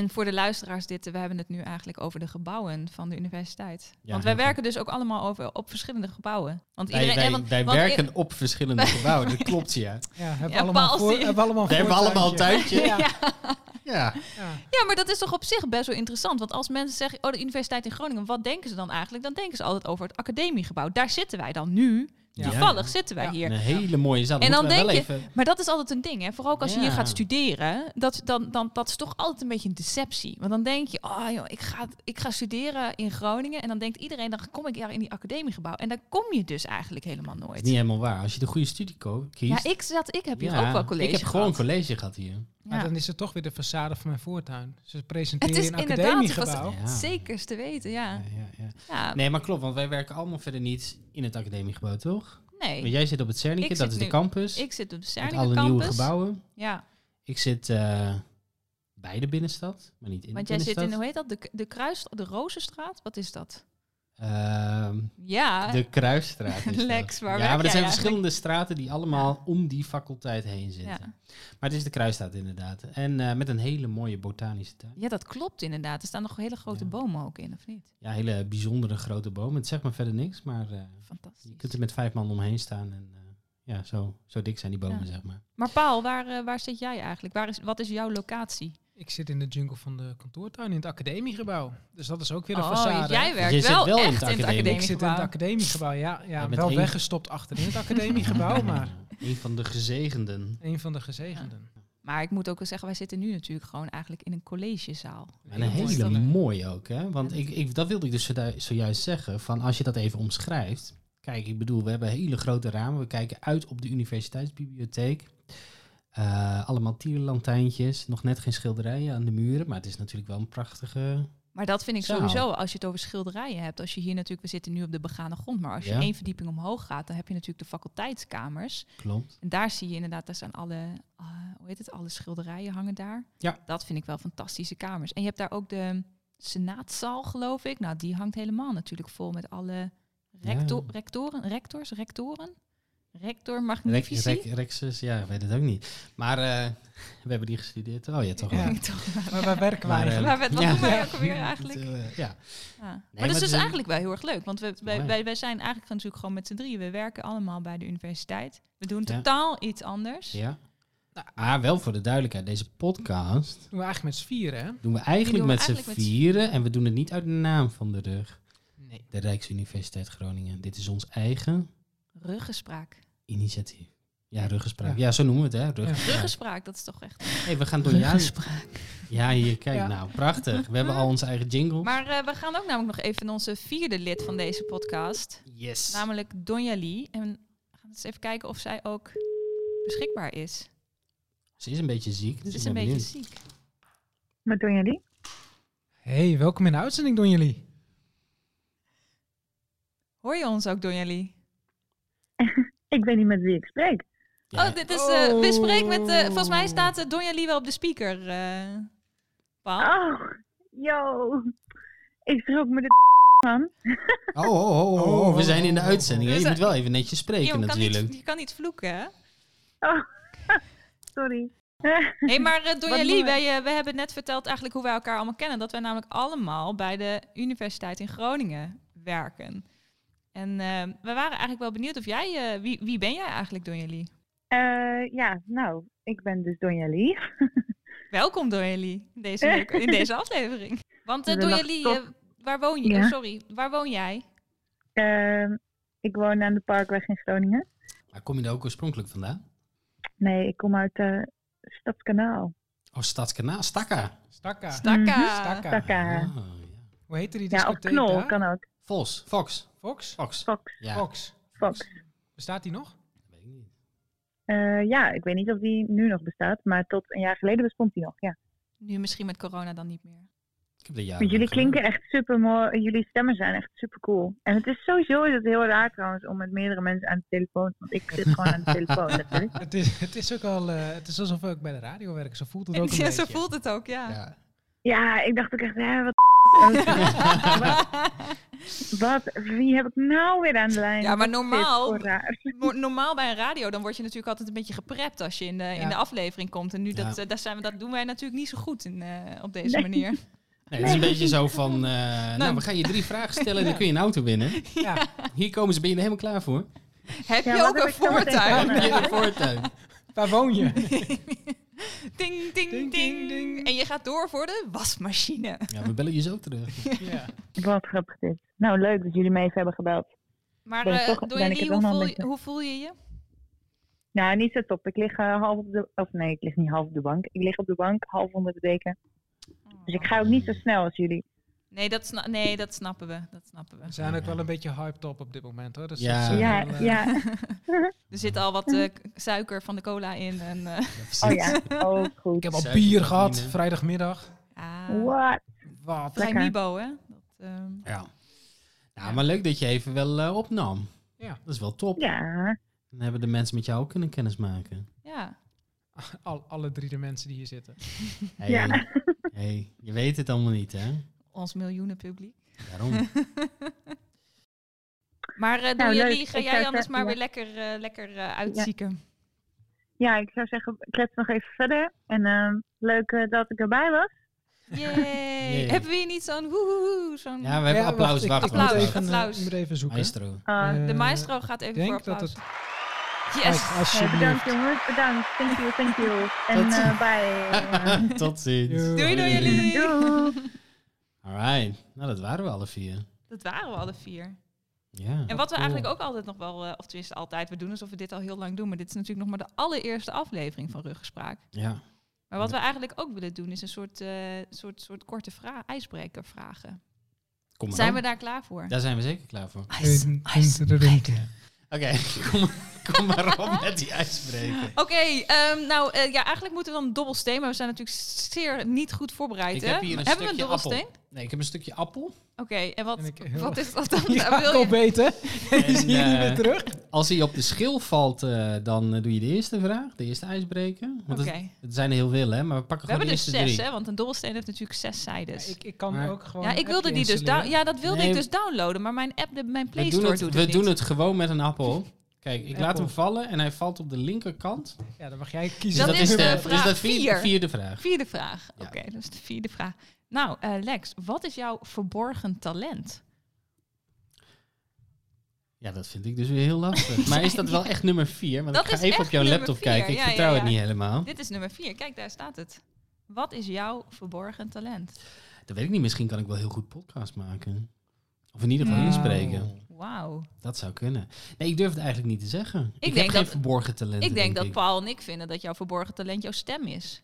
[SPEAKER 3] En voor de luisteraars, dit, we hebben het nu eigenlijk over de gebouwen van de universiteit.
[SPEAKER 2] Ja,
[SPEAKER 3] want wij
[SPEAKER 2] heel
[SPEAKER 3] werken dus ook allemaal over, op verschillende gebouwen. Want
[SPEAKER 2] Wij,
[SPEAKER 3] iedereen,
[SPEAKER 2] wij,
[SPEAKER 3] en want-
[SPEAKER 2] wij
[SPEAKER 3] want i-
[SPEAKER 2] werken op verschillende gebouwen, dat klopt ja.
[SPEAKER 1] Ja, hebben
[SPEAKER 3] Ja,
[SPEAKER 1] we allemaal
[SPEAKER 3] Paul,
[SPEAKER 1] voor,
[SPEAKER 3] zie je.
[SPEAKER 1] hebben we allemaal
[SPEAKER 2] We hebben
[SPEAKER 1] voor-
[SPEAKER 2] allemaal een tuintje.
[SPEAKER 1] Ja.
[SPEAKER 3] [laughs] Ja.
[SPEAKER 2] Ja.
[SPEAKER 1] Ja.
[SPEAKER 3] Ja, maar dat is toch op zich best wel interessant. Want als mensen zeggen, oh, de universiteit in Groningen, wat denken ze dan eigenlijk? Dan denken ze altijd over het academiegebouw. Daar zitten wij dan nu.
[SPEAKER 2] Ja.
[SPEAKER 3] Toevallig zitten wij
[SPEAKER 1] Ja.
[SPEAKER 3] hier.
[SPEAKER 2] Een hele mooie zaal.
[SPEAKER 3] En dan
[SPEAKER 2] Moeten we wel
[SPEAKER 3] denk je-
[SPEAKER 2] even-
[SPEAKER 3] Maar dat is altijd een ding, hè? Vooral ook als je hier
[SPEAKER 2] Ja.
[SPEAKER 3] gaat studeren, dat, dan, dan, dat is toch altijd een beetje een deceptie. Want dan denk je, oh joh, ik ga, ik ga studeren in Groningen. En dan denkt iedereen, dan kom ik daar in die academiegebouw. En daar kom je dus eigenlijk helemaal
[SPEAKER 2] Dat is
[SPEAKER 3] nooit.
[SPEAKER 2] niet helemaal waar. Als je de goede studie ko-
[SPEAKER 3] Ja,
[SPEAKER 2] kiest...
[SPEAKER 3] ik, zat, ik heb hier
[SPEAKER 2] Ja,
[SPEAKER 3] ook wel college
[SPEAKER 2] Ik heb gewoon
[SPEAKER 3] gehad.
[SPEAKER 2] college gehad hier.
[SPEAKER 1] Maar
[SPEAKER 3] Ja.
[SPEAKER 1] dan is het toch weer de façade van mijn voortuin. Ze presenteren
[SPEAKER 3] Het is
[SPEAKER 1] een
[SPEAKER 3] inderdaad
[SPEAKER 1] academiegebouw.
[SPEAKER 2] een façade. Ja.
[SPEAKER 3] Zekers te weten, ja.
[SPEAKER 2] Ja, ja, ja.
[SPEAKER 3] ja
[SPEAKER 2] Nee, maar klopt, want wij werken allemaal verder niet in het academiegebouw, toch? Want
[SPEAKER 3] nee,
[SPEAKER 2] jij zit op het Cernicke, dat
[SPEAKER 3] Ik zit
[SPEAKER 2] is
[SPEAKER 3] nu-
[SPEAKER 2] de campus.
[SPEAKER 3] ik zit op de
[SPEAKER 2] met
[SPEAKER 3] Cernica
[SPEAKER 2] alle nieuwe
[SPEAKER 3] campus.
[SPEAKER 2] gebouwen.
[SPEAKER 3] Ja,
[SPEAKER 2] Ik zit eh, bij de binnenstad, maar niet in
[SPEAKER 3] Want
[SPEAKER 2] de
[SPEAKER 3] jij zit
[SPEAKER 2] binnenstad.
[SPEAKER 3] in, hoe heet dat? De, de Kruis, de Rozenstraat? Wat is dat?
[SPEAKER 2] Ehm,
[SPEAKER 3] Ja,
[SPEAKER 2] de
[SPEAKER 3] [laughs]
[SPEAKER 2] Kruisstraat. is dat.
[SPEAKER 3] Lex,
[SPEAKER 2] Ja, maar
[SPEAKER 3] waar werk
[SPEAKER 2] er
[SPEAKER 3] jij
[SPEAKER 2] zijn
[SPEAKER 3] eigenlijk?
[SPEAKER 2] verschillende straten die allemaal om die faculteit heen zitten.
[SPEAKER 3] ja.
[SPEAKER 2] Maar het is de Kruisstraat inderdaad. En eh, met een hele mooie botanische tuin.
[SPEAKER 3] ja, dat klopt inderdaad. Er staan nog hele grote
[SPEAKER 2] Ja.
[SPEAKER 3] bomen ook in, of niet?
[SPEAKER 2] Ja, hele bijzondere grote boom. Het zegt maar verder niks, maar eh, je kunt
[SPEAKER 3] Fantastisch.
[SPEAKER 2] er met vijf man omheen staan. En eh, ja, zo, zo dik zijn die bomen,
[SPEAKER 3] Ja.
[SPEAKER 2] zeg maar.
[SPEAKER 3] Maar Paul, waar, eh, waar zit jij eigenlijk? Waar is, wat is jouw locatie?
[SPEAKER 1] Ik zit in de jungle van de kantoortuin in het academiegebouw. Dus dat is ook weer een
[SPEAKER 3] oh,
[SPEAKER 1] façade.
[SPEAKER 3] jij werkt
[SPEAKER 2] Je zit
[SPEAKER 3] wel,
[SPEAKER 2] wel in
[SPEAKER 3] echt
[SPEAKER 2] het
[SPEAKER 3] in het
[SPEAKER 2] academie.
[SPEAKER 1] ik zit in het
[SPEAKER 3] academiegebouw.
[SPEAKER 1] academiegebouw, ja. ja
[SPEAKER 2] Jij bent
[SPEAKER 1] wel
[SPEAKER 2] één-
[SPEAKER 1] weggestopt achterin het
[SPEAKER 2] [laughs]
[SPEAKER 1] academiegebouw, maar
[SPEAKER 2] Een van de gezegenden.
[SPEAKER 1] een van de gezegenden.
[SPEAKER 3] Maar ik moet ook wel zeggen, wij zitten nu natuurlijk gewoon eigenlijk in een collegezaal.
[SPEAKER 2] En een
[SPEAKER 1] Heel mooi.
[SPEAKER 2] hele
[SPEAKER 3] mooi.
[SPEAKER 2] mooie ook, hè? Want
[SPEAKER 3] Ja.
[SPEAKER 2] ik, ik, dat wilde ik dus zodu- zojuist zeggen. Van als je dat even omschrijft. Kijk, ik bedoel, we hebben hele grote ramen. We kijken uit op de universiteitsbibliotheek. Eh, allemaal tierenlantijntjes. Nog net geen schilderijen aan de muren. Maar het is natuurlijk wel een prachtige...
[SPEAKER 3] Maar dat vind ik
[SPEAKER 2] Zaal.
[SPEAKER 3] sowieso, als je het over schilderijen hebt. Als je hier natuurlijk, we zitten nu op de begane grond. Maar als je
[SPEAKER 2] Ja.
[SPEAKER 3] één verdieping omhoog gaat, dan heb je natuurlijk de faculteitskamers.
[SPEAKER 2] Klopt.
[SPEAKER 3] En daar zie je inderdaad, daar zijn alle, eh, hoe heet het, alle schilderijen hangen daar.
[SPEAKER 2] Ja.
[SPEAKER 3] Dat vind ik wel fantastische kamers. En je hebt daar ook de senaatzaal, geloof ik. Nou, die hangt helemaal natuurlijk vol met alle recto-
[SPEAKER 2] Ja.
[SPEAKER 3] rectoren, rectors, rectoren. Rector
[SPEAKER 2] Rek,
[SPEAKER 3] magnifici. [laughs]
[SPEAKER 2] rek, Rexus, ja, ik weet het ook niet. Maar eh, we hebben die gestudeerd. Oh ja, toch
[SPEAKER 3] [laughs]
[SPEAKER 2] wel.
[SPEAKER 1] Ja.
[SPEAKER 3] Toch,
[SPEAKER 1] Maar waar werken we
[SPEAKER 2] Maar, eh,
[SPEAKER 1] eigenlijk?
[SPEAKER 3] maar wat wat
[SPEAKER 2] [laughs] Ja.
[SPEAKER 3] doen wij ook weer eigenlijk?
[SPEAKER 2] Het, eh, ja.
[SPEAKER 3] Ja. maar
[SPEAKER 2] maar
[SPEAKER 3] dat
[SPEAKER 2] het
[SPEAKER 3] is dus
[SPEAKER 2] is een-
[SPEAKER 3] eigenlijk wel heel erg leuk. Want we, wij,
[SPEAKER 2] Mooi.
[SPEAKER 3] wij, wij zijn eigenlijk natuurlijk gewoon met z'n drieën. We werken allemaal bij de universiteit. We doen
[SPEAKER 2] Ja.
[SPEAKER 3] totaal iets anders.
[SPEAKER 2] ja. Maar wel voor de duidelijkheid. Deze podcast
[SPEAKER 1] Doen we eigenlijk met z'n vieren, hè?
[SPEAKER 2] doen we eigenlijk
[SPEAKER 3] doen we
[SPEAKER 2] met z'n
[SPEAKER 3] eigenlijk met z'n-
[SPEAKER 2] vieren. En we doen het niet uit de naam van de rug.
[SPEAKER 1] Nee.
[SPEAKER 2] De Rijksuniversiteit Groningen. Dit is ons eigen
[SPEAKER 3] Ruggespraak.
[SPEAKER 2] initiatief. Ja, ruggespraak. Ja, zo noemen we het, hè? Ruggespraak.
[SPEAKER 3] Ruggespraak, dat is toch echt...
[SPEAKER 2] Hey, we gaan door jaren. Ja, hier, kijk
[SPEAKER 1] Ja.
[SPEAKER 2] nou. Prachtig. We hebben al onze eigen jingle.
[SPEAKER 3] Maar eh, we gaan ook namelijk nog even naar onze vierde lid van deze podcast.
[SPEAKER 2] yes.
[SPEAKER 3] Namelijk Donja Lee. En we gaan eens even kijken of zij ook beschikbaar is.
[SPEAKER 2] Ze is een beetje ziek.
[SPEAKER 3] Ze
[SPEAKER 2] Dus
[SPEAKER 3] is
[SPEAKER 2] ik
[SPEAKER 3] een
[SPEAKER 2] ben
[SPEAKER 3] beetje
[SPEAKER 2] benieuwd.
[SPEAKER 3] ziek.
[SPEAKER 4] Wat doen jullie?
[SPEAKER 1] Hey, welkom in de uitzending doen jullie.
[SPEAKER 3] Hoor je ons ook, Donja Lee?
[SPEAKER 4] Ik weet niet met wie ik spreek.
[SPEAKER 2] Ja.
[SPEAKER 3] Oh, dit is... eh,
[SPEAKER 1] Oh.
[SPEAKER 3] we spreken met... eh, volgens mij staat eh, Donja Lee wel op de speaker. eh Paul.
[SPEAKER 2] Ah,
[SPEAKER 4] Oh, yo. Ik schrok me de van.
[SPEAKER 2] Oh, oh, oh, oh, oh,
[SPEAKER 1] Oh,
[SPEAKER 2] we zijn in de
[SPEAKER 1] oh, oh,
[SPEAKER 2] uitzending. hè.
[SPEAKER 3] oh.
[SPEAKER 2] Je moet wel even netjes
[SPEAKER 3] Ja,
[SPEAKER 2] spreken
[SPEAKER 3] maar kan niet-
[SPEAKER 2] natuurlijk.
[SPEAKER 3] je kan niet vloeken, hè?
[SPEAKER 4] Sorry.
[SPEAKER 3] Hé,
[SPEAKER 2] [laughs]
[SPEAKER 3] maar eh, Donja Lee,
[SPEAKER 4] Wat mooi.
[SPEAKER 3] wij, eh, wij hebben net verteld eigenlijk hoe wij elkaar allemaal kennen. Dat wij namelijk allemaal bij de Universiteit in Groningen werken. En eh, we waren eigenlijk wel benieuwd of jij... eh, wie, wie ben jij eigenlijk, Donja Lee?
[SPEAKER 4] Eh, ja, nou, ik ben dus Donja Lee.
[SPEAKER 3] Welkom Donja Lee in
[SPEAKER 4] [laughs]
[SPEAKER 3] deze, leuke- in deze aflevering. Want eh
[SPEAKER 4] We
[SPEAKER 3] Donja
[SPEAKER 4] lachen
[SPEAKER 3] Lee,
[SPEAKER 4] toch?
[SPEAKER 3] eh, waar woon je?
[SPEAKER 4] Ja.
[SPEAKER 3] Oh, sorry, waar woon jij?
[SPEAKER 4] Ehm, ik woon aan de Parkweg in Groningen.
[SPEAKER 2] Maar kom je daar ook oorspronkelijk vandaan?
[SPEAKER 4] Nee, ik kom uit eh Stadskanaal.
[SPEAKER 2] Oh, Stadskanaal. Stakka.
[SPEAKER 1] Stakka.
[SPEAKER 3] Stakka.
[SPEAKER 4] Mhm.
[SPEAKER 1] Stakka.
[SPEAKER 4] Stakka.
[SPEAKER 2] Ah, ja.
[SPEAKER 1] Hoe heette die
[SPEAKER 4] Ja, of
[SPEAKER 1] discotheek
[SPEAKER 4] Knol
[SPEAKER 1] daar?
[SPEAKER 4] kan ook.
[SPEAKER 2] Vos. Fox.
[SPEAKER 1] Fox?
[SPEAKER 2] Fox.
[SPEAKER 4] Fox.
[SPEAKER 2] Ja.
[SPEAKER 1] Fox.
[SPEAKER 4] Fox.
[SPEAKER 1] Bestaat die nog?
[SPEAKER 2] Weet ik niet.
[SPEAKER 4] Eh, ja, ik weet niet of die nu nog bestaat, maar tot een jaar geleden bestond die nog, ja.
[SPEAKER 3] Nu misschien met corona dan niet meer.
[SPEAKER 2] Ik heb de jaren
[SPEAKER 4] Want jullie
[SPEAKER 2] nog gedaan.
[SPEAKER 4] klinken echt super mooi, jullie stemmen zijn echt super cool. En het is sowieso is het heel raar trouwens om met meerdere mensen aan de telefoon, want ik zit gewoon aan de telefoon natuurlijk.
[SPEAKER 2] Ah.
[SPEAKER 1] Het is, het is ook al, eh, het is alsof ik bij de radio werk. Zo voelt het ook een
[SPEAKER 3] Ja,
[SPEAKER 1] beetje.
[SPEAKER 3] [laughs] zo voelt het ook, ja.
[SPEAKER 2] Ja.
[SPEAKER 4] Ja, ik dacht ook echt, hè, wat,
[SPEAKER 3] [laughs]
[SPEAKER 4] wat, wie heb ik nou weer aan de lijn?
[SPEAKER 3] Ja, maar
[SPEAKER 4] Wat is dit
[SPEAKER 3] normaal-
[SPEAKER 4] voor raar?
[SPEAKER 3] Mo- Normaal bij een radio, dan word je natuurlijk altijd een beetje geprept als je in de, in
[SPEAKER 1] Ja.
[SPEAKER 3] de aflevering komt. En nu
[SPEAKER 2] Ja.
[SPEAKER 3] dat, eh, daar zijn we, dat doen wij natuurlijk niet zo goed in, eh, op deze
[SPEAKER 4] [laughs]
[SPEAKER 3] manier.
[SPEAKER 2] Nee, het is een beetje zo van, eh, nou, we gaan je drie vragen stellen en dan kun je een auto winnen.
[SPEAKER 1] Ja.
[SPEAKER 2] Hier komen ze, ben je er helemaal klaar voor?
[SPEAKER 3] Heb
[SPEAKER 4] Ja,
[SPEAKER 3] je
[SPEAKER 4] wat
[SPEAKER 3] ook
[SPEAKER 4] heb
[SPEAKER 3] een
[SPEAKER 4] ik zo meteen
[SPEAKER 3] voortuin?
[SPEAKER 4] gedaan?
[SPEAKER 2] Heb je een voortuin?
[SPEAKER 1] Waar woon je?
[SPEAKER 3] [laughs] Ding, ding,
[SPEAKER 1] Ding,
[SPEAKER 3] ding,
[SPEAKER 1] ding,
[SPEAKER 3] ding.
[SPEAKER 1] ding.
[SPEAKER 3] En je gaat door voor de wasmachine.
[SPEAKER 2] Ja, we bellen je zo terug.
[SPEAKER 1] Ja.
[SPEAKER 4] Wat grappig dit. Nou, leuk dat jullie me even hebben gebeld.
[SPEAKER 3] Maar
[SPEAKER 4] Ben ik
[SPEAKER 3] eh,
[SPEAKER 4] toch-
[SPEAKER 3] Donja
[SPEAKER 4] ben ik
[SPEAKER 3] Lee,
[SPEAKER 4] het
[SPEAKER 3] hoe
[SPEAKER 4] wel een
[SPEAKER 3] voel, je,
[SPEAKER 4] beetje.
[SPEAKER 3] hoe voel je je?
[SPEAKER 4] Nou, niet zo top. Ik lig eh, half op de... Of nee, ik lig niet half op de bank. Ik lig op de bank, half onder de deken. Dus ik ga ook niet zo snel als jullie.
[SPEAKER 3] Nee, dat, sna- nee, dat snappen we. Dat snappen we.
[SPEAKER 1] We zijn ook wel een beetje hyped op op dit moment hoor. Dus
[SPEAKER 2] Ja.
[SPEAKER 1] dat is ook
[SPEAKER 4] Ja,
[SPEAKER 1] wel, eh,
[SPEAKER 4] ja.
[SPEAKER 3] Er zit al wat eh, k- suiker van de cola in. En, eh, [laughs]
[SPEAKER 4] Oh ja, oh
[SPEAKER 1] Ik
[SPEAKER 4] goed.
[SPEAKER 1] heb al
[SPEAKER 2] Suiker,
[SPEAKER 1] bier gehad
[SPEAKER 2] cafeïne.
[SPEAKER 1] vrijdagmiddag.
[SPEAKER 3] ah,
[SPEAKER 4] What?
[SPEAKER 1] Wat?
[SPEAKER 3] vrij
[SPEAKER 4] lekker.
[SPEAKER 3] Mibo, hè? Dat, ehm,
[SPEAKER 2] Ja. Nou, maar leuk dat je even wel eh, opnam.
[SPEAKER 1] Ja.
[SPEAKER 2] Dat is wel top.
[SPEAKER 4] Ja,
[SPEAKER 2] Dan hebben de mensen met jou ook kunnen kennismaken.
[SPEAKER 3] ja.
[SPEAKER 1] Al, alle drie de mensen die hier zitten.
[SPEAKER 2] Hey,
[SPEAKER 4] ja.
[SPEAKER 2] hey, je weet het allemaal niet, hè?
[SPEAKER 3] Ons miljoenen publiek.
[SPEAKER 2] Daarom.
[SPEAKER 3] Maar eh
[SPEAKER 4] Nou,
[SPEAKER 3] Donja
[SPEAKER 4] leuk.
[SPEAKER 3] Lee, ga
[SPEAKER 4] Ik
[SPEAKER 3] jij
[SPEAKER 4] zou
[SPEAKER 3] anders
[SPEAKER 4] zeggen,
[SPEAKER 3] maar
[SPEAKER 4] ja.
[SPEAKER 3] weer lekker, eh, lekker eh, uitzieken.
[SPEAKER 4] ja, ik zou zeggen, klets nog even verder. En ehm, leuk eh, dat ik erbij was.
[SPEAKER 3] Yay. Hebben we hier niet zo'n woehoehoe? Zo'n...
[SPEAKER 2] Ja, we hebben
[SPEAKER 1] Ja,
[SPEAKER 2] applaus.
[SPEAKER 1] ik-
[SPEAKER 2] Wacht,
[SPEAKER 1] ik,
[SPEAKER 2] wacht,
[SPEAKER 1] moet
[SPEAKER 3] Applaus,
[SPEAKER 2] wacht.
[SPEAKER 1] even, eh,
[SPEAKER 3] applaus.
[SPEAKER 1] ik moet even zoeken.
[SPEAKER 2] Maestro.
[SPEAKER 4] Ah,
[SPEAKER 1] Eh,
[SPEAKER 3] De maestro gaat even
[SPEAKER 1] Ik
[SPEAKER 3] voor
[SPEAKER 1] denk dat
[SPEAKER 3] applaus.
[SPEAKER 1] het...
[SPEAKER 3] Yes!
[SPEAKER 1] Kijk,
[SPEAKER 4] eh,
[SPEAKER 1] alsjeblieft.
[SPEAKER 4] bedankt jongens, bedankt. Thank you, thank you. En
[SPEAKER 2] Tot-
[SPEAKER 4] eh,
[SPEAKER 2] [laughs]
[SPEAKER 4] bye.
[SPEAKER 2] Tot ziens.
[SPEAKER 1] Doei,
[SPEAKER 3] Doei, doei
[SPEAKER 2] Alright.
[SPEAKER 3] jullie!
[SPEAKER 4] Doei.
[SPEAKER 2] Nou, dat waren we alle vier.
[SPEAKER 3] Dat waren we alle vier.
[SPEAKER 2] Ja.
[SPEAKER 3] En wat we eigenlijk ook altijd nog wel, eh, of tenminste altijd, we doen alsof we dit al heel lang doen, maar dit is natuurlijk nog maar de allereerste aflevering van Ruggespraak.
[SPEAKER 2] Ja.
[SPEAKER 3] Maar wat we eigenlijk ook willen doen is een soort, eh, soort, soort korte vra- ijsbreker vragen.
[SPEAKER 2] Kom maar
[SPEAKER 3] Zijn we
[SPEAKER 2] dan.
[SPEAKER 3] daar klaar voor?
[SPEAKER 2] Daar zijn we zeker klaar voor.
[SPEAKER 3] Ijs, ijsbreker.
[SPEAKER 2] Oké, [laughs] kom, kom maar op met die ijsbreker.
[SPEAKER 3] Oké, ehm, nou eh, ja, eigenlijk moeten we dan een dobbelsteen, maar we zijn natuurlijk zeer niet goed voorbereid.
[SPEAKER 2] Ik
[SPEAKER 3] hè?
[SPEAKER 2] heb hier een
[SPEAKER 3] Hebben we
[SPEAKER 2] stukje
[SPEAKER 3] een
[SPEAKER 2] appel.
[SPEAKER 3] dobbelsteen?
[SPEAKER 2] Nee, ik heb een stukje [laughs] appel.
[SPEAKER 3] Oké, en wat,
[SPEAKER 1] En ik heel-
[SPEAKER 3] wat is dat dan? [laughs]
[SPEAKER 1] [laughs] Ja,
[SPEAKER 3] wil je...
[SPEAKER 1] opeten. En die zie je
[SPEAKER 2] En,
[SPEAKER 1] niet
[SPEAKER 2] eh,
[SPEAKER 1] meer terug.
[SPEAKER 2] Als hij op de schil valt, eh, dan eh, doe je de eerste vraag, de eerste ijsbreker. Want het,
[SPEAKER 3] Oké.
[SPEAKER 2] het zijn er heel veel, hè? Maar we pakken
[SPEAKER 3] We
[SPEAKER 2] gewoon de
[SPEAKER 3] hebben dus
[SPEAKER 2] eerste
[SPEAKER 3] zes,
[SPEAKER 2] drie.
[SPEAKER 3] hè? Want een dobbelsteen heeft natuurlijk zes zijdes. dus. Ja, ik,
[SPEAKER 1] ik, ik kan
[SPEAKER 2] Maar-
[SPEAKER 1] ook gewoon. een
[SPEAKER 3] wilde
[SPEAKER 1] appje
[SPEAKER 3] die dus
[SPEAKER 1] installeren.
[SPEAKER 3] down- ja, dat wilde
[SPEAKER 2] Nee,
[SPEAKER 3] ik dus downloaden, maar mijn app, de, mijn Play
[SPEAKER 2] We doen
[SPEAKER 3] Store
[SPEAKER 2] het,
[SPEAKER 3] doet
[SPEAKER 2] we
[SPEAKER 3] het
[SPEAKER 2] doen
[SPEAKER 3] niet.
[SPEAKER 2] het gewoon met een appel. Kijk, ik laat
[SPEAKER 1] Appel.
[SPEAKER 2] hem vallen en hij valt op de linkerkant. Dus
[SPEAKER 1] Ja, dan mag jij kiezen.
[SPEAKER 3] Dat
[SPEAKER 1] welk
[SPEAKER 3] is
[SPEAKER 2] de
[SPEAKER 3] de
[SPEAKER 1] nummer.
[SPEAKER 3] vraag
[SPEAKER 2] dus dat vier-
[SPEAKER 3] vier.
[SPEAKER 2] vierde vraag.
[SPEAKER 3] Vierde vraag.
[SPEAKER 2] Ja.
[SPEAKER 3] Oké, dat is de vierde vraag. Nou, eh, Lex, wat is jouw verborgen talent?
[SPEAKER 2] Ja, dat vind ik dus weer heel
[SPEAKER 3] [laughs]
[SPEAKER 2] lastig. maar is dat wel echt nummer vier? Want
[SPEAKER 3] Dat
[SPEAKER 2] ik ga
[SPEAKER 3] is
[SPEAKER 2] even
[SPEAKER 3] echt
[SPEAKER 2] op jouw
[SPEAKER 3] nummer
[SPEAKER 2] laptop
[SPEAKER 3] vier.
[SPEAKER 2] kijken. Ik
[SPEAKER 3] Ja, ja,
[SPEAKER 2] vertrouw
[SPEAKER 3] ja.
[SPEAKER 2] het niet helemaal.
[SPEAKER 3] Dit is nummer vier. Kijk, daar staat het. Wat is jouw verborgen talent?
[SPEAKER 2] Dat weet ik niet. Misschien kan ik wel heel goed podcast maken. Of in ieder geval
[SPEAKER 3] Wow.
[SPEAKER 2] inspreken.
[SPEAKER 3] Wauw.
[SPEAKER 2] Dat zou kunnen. Nee, ik durf het eigenlijk niet te zeggen. Ik,
[SPEAKER 3] denk
[SPEAKER 2] heb geen
[SPEAKER 3] dat-
[SPEAKER 2] verborgen talenten.
[SPEAKER 3] Ik denk dat
[SPEAKER 2] ik.
[SPEAKER 3] Paul en ik vinden dat jouw verborgen talent jouw stem is.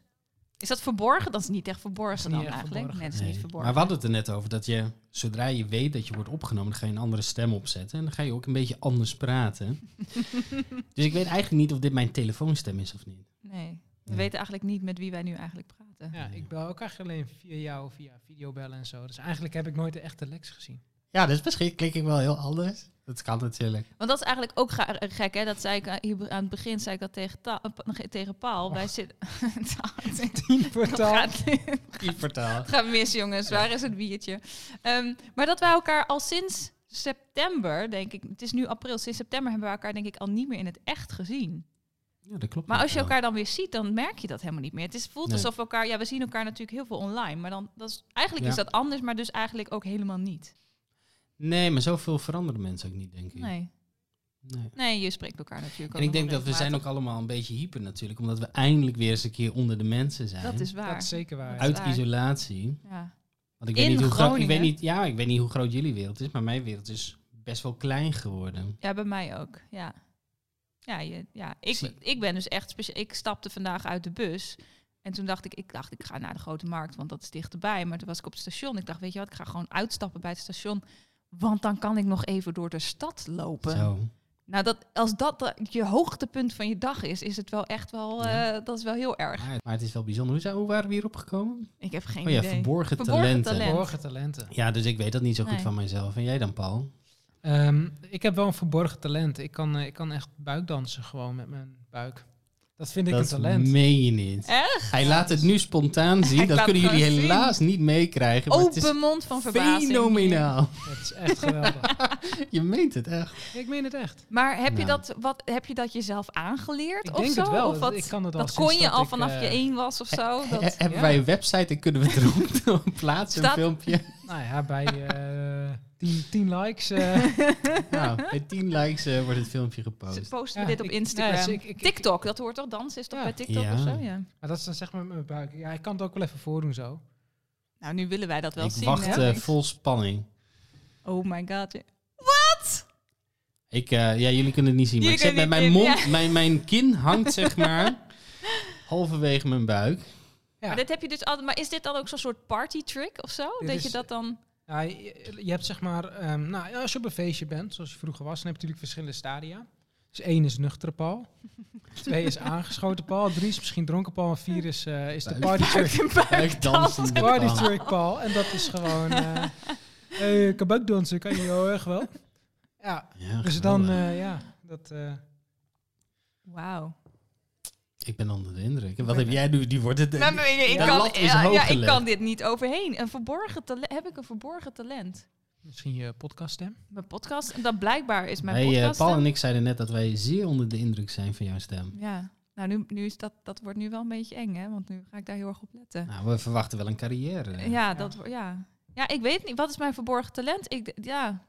[SPEAKER 3] Is dat verborgen? Dat is niet echt verborgen
[SPEAKER 1] niet
[SPEAKER 3] dan
[SPEAKER 1] echt
[SPEAKER 3] eigenlijk.
[SPEAKER 1] verborgen.
[SPEAKER 3] Nee, dat is niet
[SPEAKER 2] Nee.
[SPEAKER 3] verborgen.
[SPEAKER 2] Maar we hadden het er net over dat je, zodra je weet dat je wordt opgenomen, dan ga je een andere stem opzetten. En dan ga je ook een beetje anders praten.
[SPEAKER 3] [laughs]
[SPEAKER 2] dus ik weet eigenlijk niet of dit mijn telefoonstem is of niet.
[SPEAKER 3] Nee, we
[SPEAKER 2] Nee.
[SPEAKER 3] weten eigenlijk niet met wie wij nu eigenlijk praten.
[SPEAKER 1] Ja, ik bel ook eigenlijk alleen via jou, via videobellen en zo. Dus eigenlijk heb ik nooit de echte Lex gezien. [laughs]
[SPEAKER 2] Ja, dus misschien klink ik wel heel anders. Dat kan [laughs] natuurlijk.
[SPEAKER 3] Want dat is eigenlijk ook ga- gek, hè? Dat zei ik eh, hier aan het begin, zei ik dat tegen, Ta- eh, Pa- tegen Paul.
[SPEAKER 1] Oh.
[SPEAKER 3] Wij zitten... [laughs]
[SPEAKER 1] Tien
[SPEAKER 3] Dat
[SPEAKER 1] portaal.
[SPEAKER 3] gaat, het
[SPEAKER 2] Die vertaal.
[SPEAKER 3] gaat mis, jongens. Waar is het biertje? Ehm, maar dat wij elkaar al sinds september, denk ik... Het is nu april, sinds september hebben we elkaar denk ik al niet meer in het echt gezien.
[SPEAKER 2] Ja, dat klopt.
[SPEAKER 3] Maar als je
[SPEAKER 2] wel.
[SPEAKER 3] elkaar dan weer ziet, dan merk je dat helemaal niet meer. Het is, voelt
[SPEAKER 2] Nee.
[SPEAKER 3] alsof we elkaar... Ja, we zien elkaar natuurlijk heel veel online. Maar dan, dat is, eigenlijk
[SPEAKER 2] Ja.
[SPEAKER 3] is dat anders, maar dus eigenlijk ook helemaal niet.
[SPEAKER 2] Nee, maar zoveel veranderen mensen ook niet, denk ik.
[SPEAKER 3] Nee.
[SPEAKER 2] Nee.
[SPEAKER 3] Nee, je spreekt elkaar natuurlijk ook.
[SPEAKER 2] En ik denk
[SPEAKER 3] nog
[SPEAKER 2] dat we zijn ook
[SPEAKER 3] regelmatig.
[SPEAKER 2] allemaal een beetje hyper natuurlijk, omdat we eindelijk weer eens een keer onder de mensen zijn.
[SPEAKER 3] Dat is
[SPEAKER 1] Dat is
[SPEAKER 3] waar.
[SPEAKER 1] zeker waar.
[SPEAKER 2] Uit
[SPEAKER 3] waar.
[SPEAKER 2] isolatie.
[SPEAKER 3] Ja.
[SPEAKER 2] Want ik weet,
[SPEAKER 3] In
[SPEAKER 2] niet hoe groot, ik,
[SPEAKER 3] Groningen.
[SPEAKER 2] weet niet, ja, ik weet niet hoe groot jullie wereld is, maar mijn wereld is best wel klein geworden.
[SPEAKER 3] ja, bij mij ook. Ja, ja, je, ja. Ik,
[SPEAKER 2] Zie-
[SPEAKER 3] ik ben dus echt speciaal. Ik stapte vandaag uit de bus. En toen dacht ik, ik dacht, ik ga naar de grote markt, want dat is dichterbij. Maar toen was ik op het station. Ik dacht, weet je wat, ik ga gewoon uitstappen bij het station. Want dan kan ik nog even door de stad lopen.
[SPEAKER 2] Zo.
[SPEAKER 3] Nou, dat, als dat de- je hoogtepunt van je dag is, is het wel echt wel,
[SPEAKER 2] Ja.
[SPEAKER 3] eh, dat is wel heel erg.
[SPEAKER 2] Maar, maar het is wel bijzonder. Hoe, zijn- hoe waren we hierop gekomen?
[SPEAKER 3] Ik heb geen
[SPEAKER 2] oh ja,
[SPEAKER 3] idee.
[SPEAKER 2] verborgen,
[SPEAKER 3] Verborgen
[SPEAKER 2] talenten.
[SPEAKER 3] talent.
[SPEAKER 1] Verborgen talenten.
[SPEAKER 2] Ja, dus ik weet dat niet zo goed
[SPEAKER 3] Nee.
[SPEAKER 2] van mijzelf. En jij dan, Paul?
[SPEAKER 1] Ehm, ik heb wel een verborgen talent. Ik kan, eh, ik kan echt buikdansen gewoon met mijn buik. Dat vind ik
[SPEAKER 2] dat
[SPEAKER 1] een talent.
[SPEAKER 2] meen je niet.
[SPEAKER 3] Echt?
[SPEAKER 2] Hij laat het nu
[SPEAKER 3] [laughs]
[SPEAKER 2] spontaan zien.
[SPEAKER 3] Ik
[SPEAKER 2] Dat
[SPEAKER 3] laat
[SPEAKER 2] kunnen
[SPEAKER 3] het
[SPEAKER 2] jullie
[SPEAKER 3] gewoon zien.
[SPEAKER 2] helaas niet meekrijgen. maar het is
[SPEAKER 3] Open mond van verbazing.
[SPEAKER 2] Fenomenaal.
[SPEAKER 1] Dat is echt
[SPEAKER 3] [laughs]
[SPEAKER 1] geweldig.
[SPEAKER 2] Je meent het echt.
[SPEAKER 1] ik meen het echt.
[SPEAKER 3] Maar heb, je
[SPEAKER 2] Nou.
[SPEAKER 3] dat, wat, heb je dat jezelf aangeleerd
[SPEAKER 1] Ik
[SPEAKER 3] of
[SPEAKER 1] denk
[SPEAKER 3] zo?
[SPEAKER 1] het wel.
[SPEAKER 3] Of wat,
[SPEAKER 1] ik kan het al
[SPEAKER 3] dat
[SPEAKER 1] sinds
[SPEAKER 3] kon je al
[SPEAKER 1] ik,
[SPEAKER 3] vanaf
[SPEAKER 1] eh,
[SPEAKER 3] je één was of zo? Dat,
[SPEAKER 2] He- hebben
[SPEAKER 1] ja.
[SPEAKER 2] wij een website en kunnen we het erop [laughs] plaatsen, een
[SPEAKER 3] Staat- [laughs]
[SPEAKER 2] filmpje?
[SPEAKER 1] Nou ja, bij eh, 10 10 likes. eh,
[SPEAKER 2] Nou, bij 10 likes eh, wordt het filmpje
[SPEAKER 3] ze
[SPEAKER 2] gepost.
[SPEAKER 3] posten
[SPEAKER 1] ja,
[SPEAKER 3] we dit op
[SPEAKER 1] ik-
[SPEAKER 3] Instagram.
[SPEAKER 1] ja, dus ik- ik- ik-
[SPEAKER 3] TikTok, dat hoort toch? Dansen is toch
[SPEAKER 1] Ja.
[SPEAKER 3] bij TikTok
[SPEAKER 2] Ja.
[SPEAKER 3] of zo? Ja.
[SPEAKER 1] maar dat is dan zeg maar met mijn buik. Ja, ik kan het ook wel even voordoen zo.
[SPEAKER 3] Nou, nu willen wij dat wel
[SPEAKER 2] Ik
[SPEAKER 3] zien.
[SPEAKER 2] wacht
[SPEAKER 3] hè?
[SPEAKER 2] eh, vol spanning.
[SPEAKER 3] Oh my god.
[SPEAKER 2] Ik, eh, ja, jullie kunnen het niet zien, maar
[SPEAKER 3] Jullie
[SPEAKER 2] ik zit met
[SPEAKER 3] kunnen
[SPEAKER 2] mijn
[SPEAKER 3] het niet
[SPEAKER 2] mond, mijn,
[SPEAKER 3] [laughs]
[SPEAKER 2] mijn kin hangt zeg maar halverwege mijn buik.
[SPEAKER 1] Ja.
[SPEAKER 3] Maar, dit heb je dus altijd, maar is dit dan ook zo'n soort party trick of zo?
[SPEAKER 1] Dit
[SPEAKER 3] dat
[SPEAKER 1] is-
[SPEAKER 3] je dat dan...
[SPEAKER 1] Ja, je, je hebt zeg maar, ehm, nou, ja, als je op een feestje bent, zoals je vroeger was, dan heb je natuurlijk verschillende stadia. Dus één is nuchtere
[SPEAKER 3] [laughs]
[SPEAKER 1] Paul, twee is aangeschoten Paul, drie is misschien dronken Paul en vier is, eh, is de
[SPEAKER 2] Buik-
[SPEAKER 1] [laughs] party trick.
[SPEAKER 2] Buik dansende
[SPEAKER 1] Party
[SPEAKER 2] pan.
[SPEAKER 1] trick Paul. En dat is gewoon, [laughs] eh hey, kan buikdansen, kan je heel erg wel. Ja,
[SPEAKER 2] Ja,
[SPEAKER 1] dus dan,
[SPEAKER 2] geweldig.
[SPEAKER 1] eh, ja, dat... eh,
[SPEAKER 3] Wauw.
[SPEAKER 2] Ik ben onder de indruk. En Wat heb jij nu? Die wordt het.
[SPEAKER 3] Nou, maar ik, ik
[SPEAKER 2] de
[SPEAKER 3] kan,
[SPEAKER 2] lat is
[SPEAKER 3] ja,
[SPEAKER 2] hoog
[SPEAKER 3] ja, ik
[SPEAKER 2] gelegd.
[SPEAKER 3] kan dit niet overheen. Een verborgen tale- heb ik een verborgen talent?
[SPEAKER 1] Misschien je podcaststem.
[SPEAKER 3] Mijn podcast, dat blijkbaar is mijn
[SPEAKER 2] Wij, eh,
[SPEAKER 3] podcast.
[SPEAKER 2] Paul
[SPEAKER 3] dan-
[SPEAKER 2] en ik zeiden net dat wij zeer onder de indruk zijn van jouw stem.
[SPEAKER 3] Ja, nou nu, nu is dat, dat wordt nu wel een beetje eng, hè? Want nu ga ik daar heel erg op letten.
[SPEAKER 2] Nou, we verwachten wel een carrière.
[SPEAKER 3] Ja, dat wo- ja. Ja, ik weet niet. Wat is mijn verborgen talent? Ik, d- ja.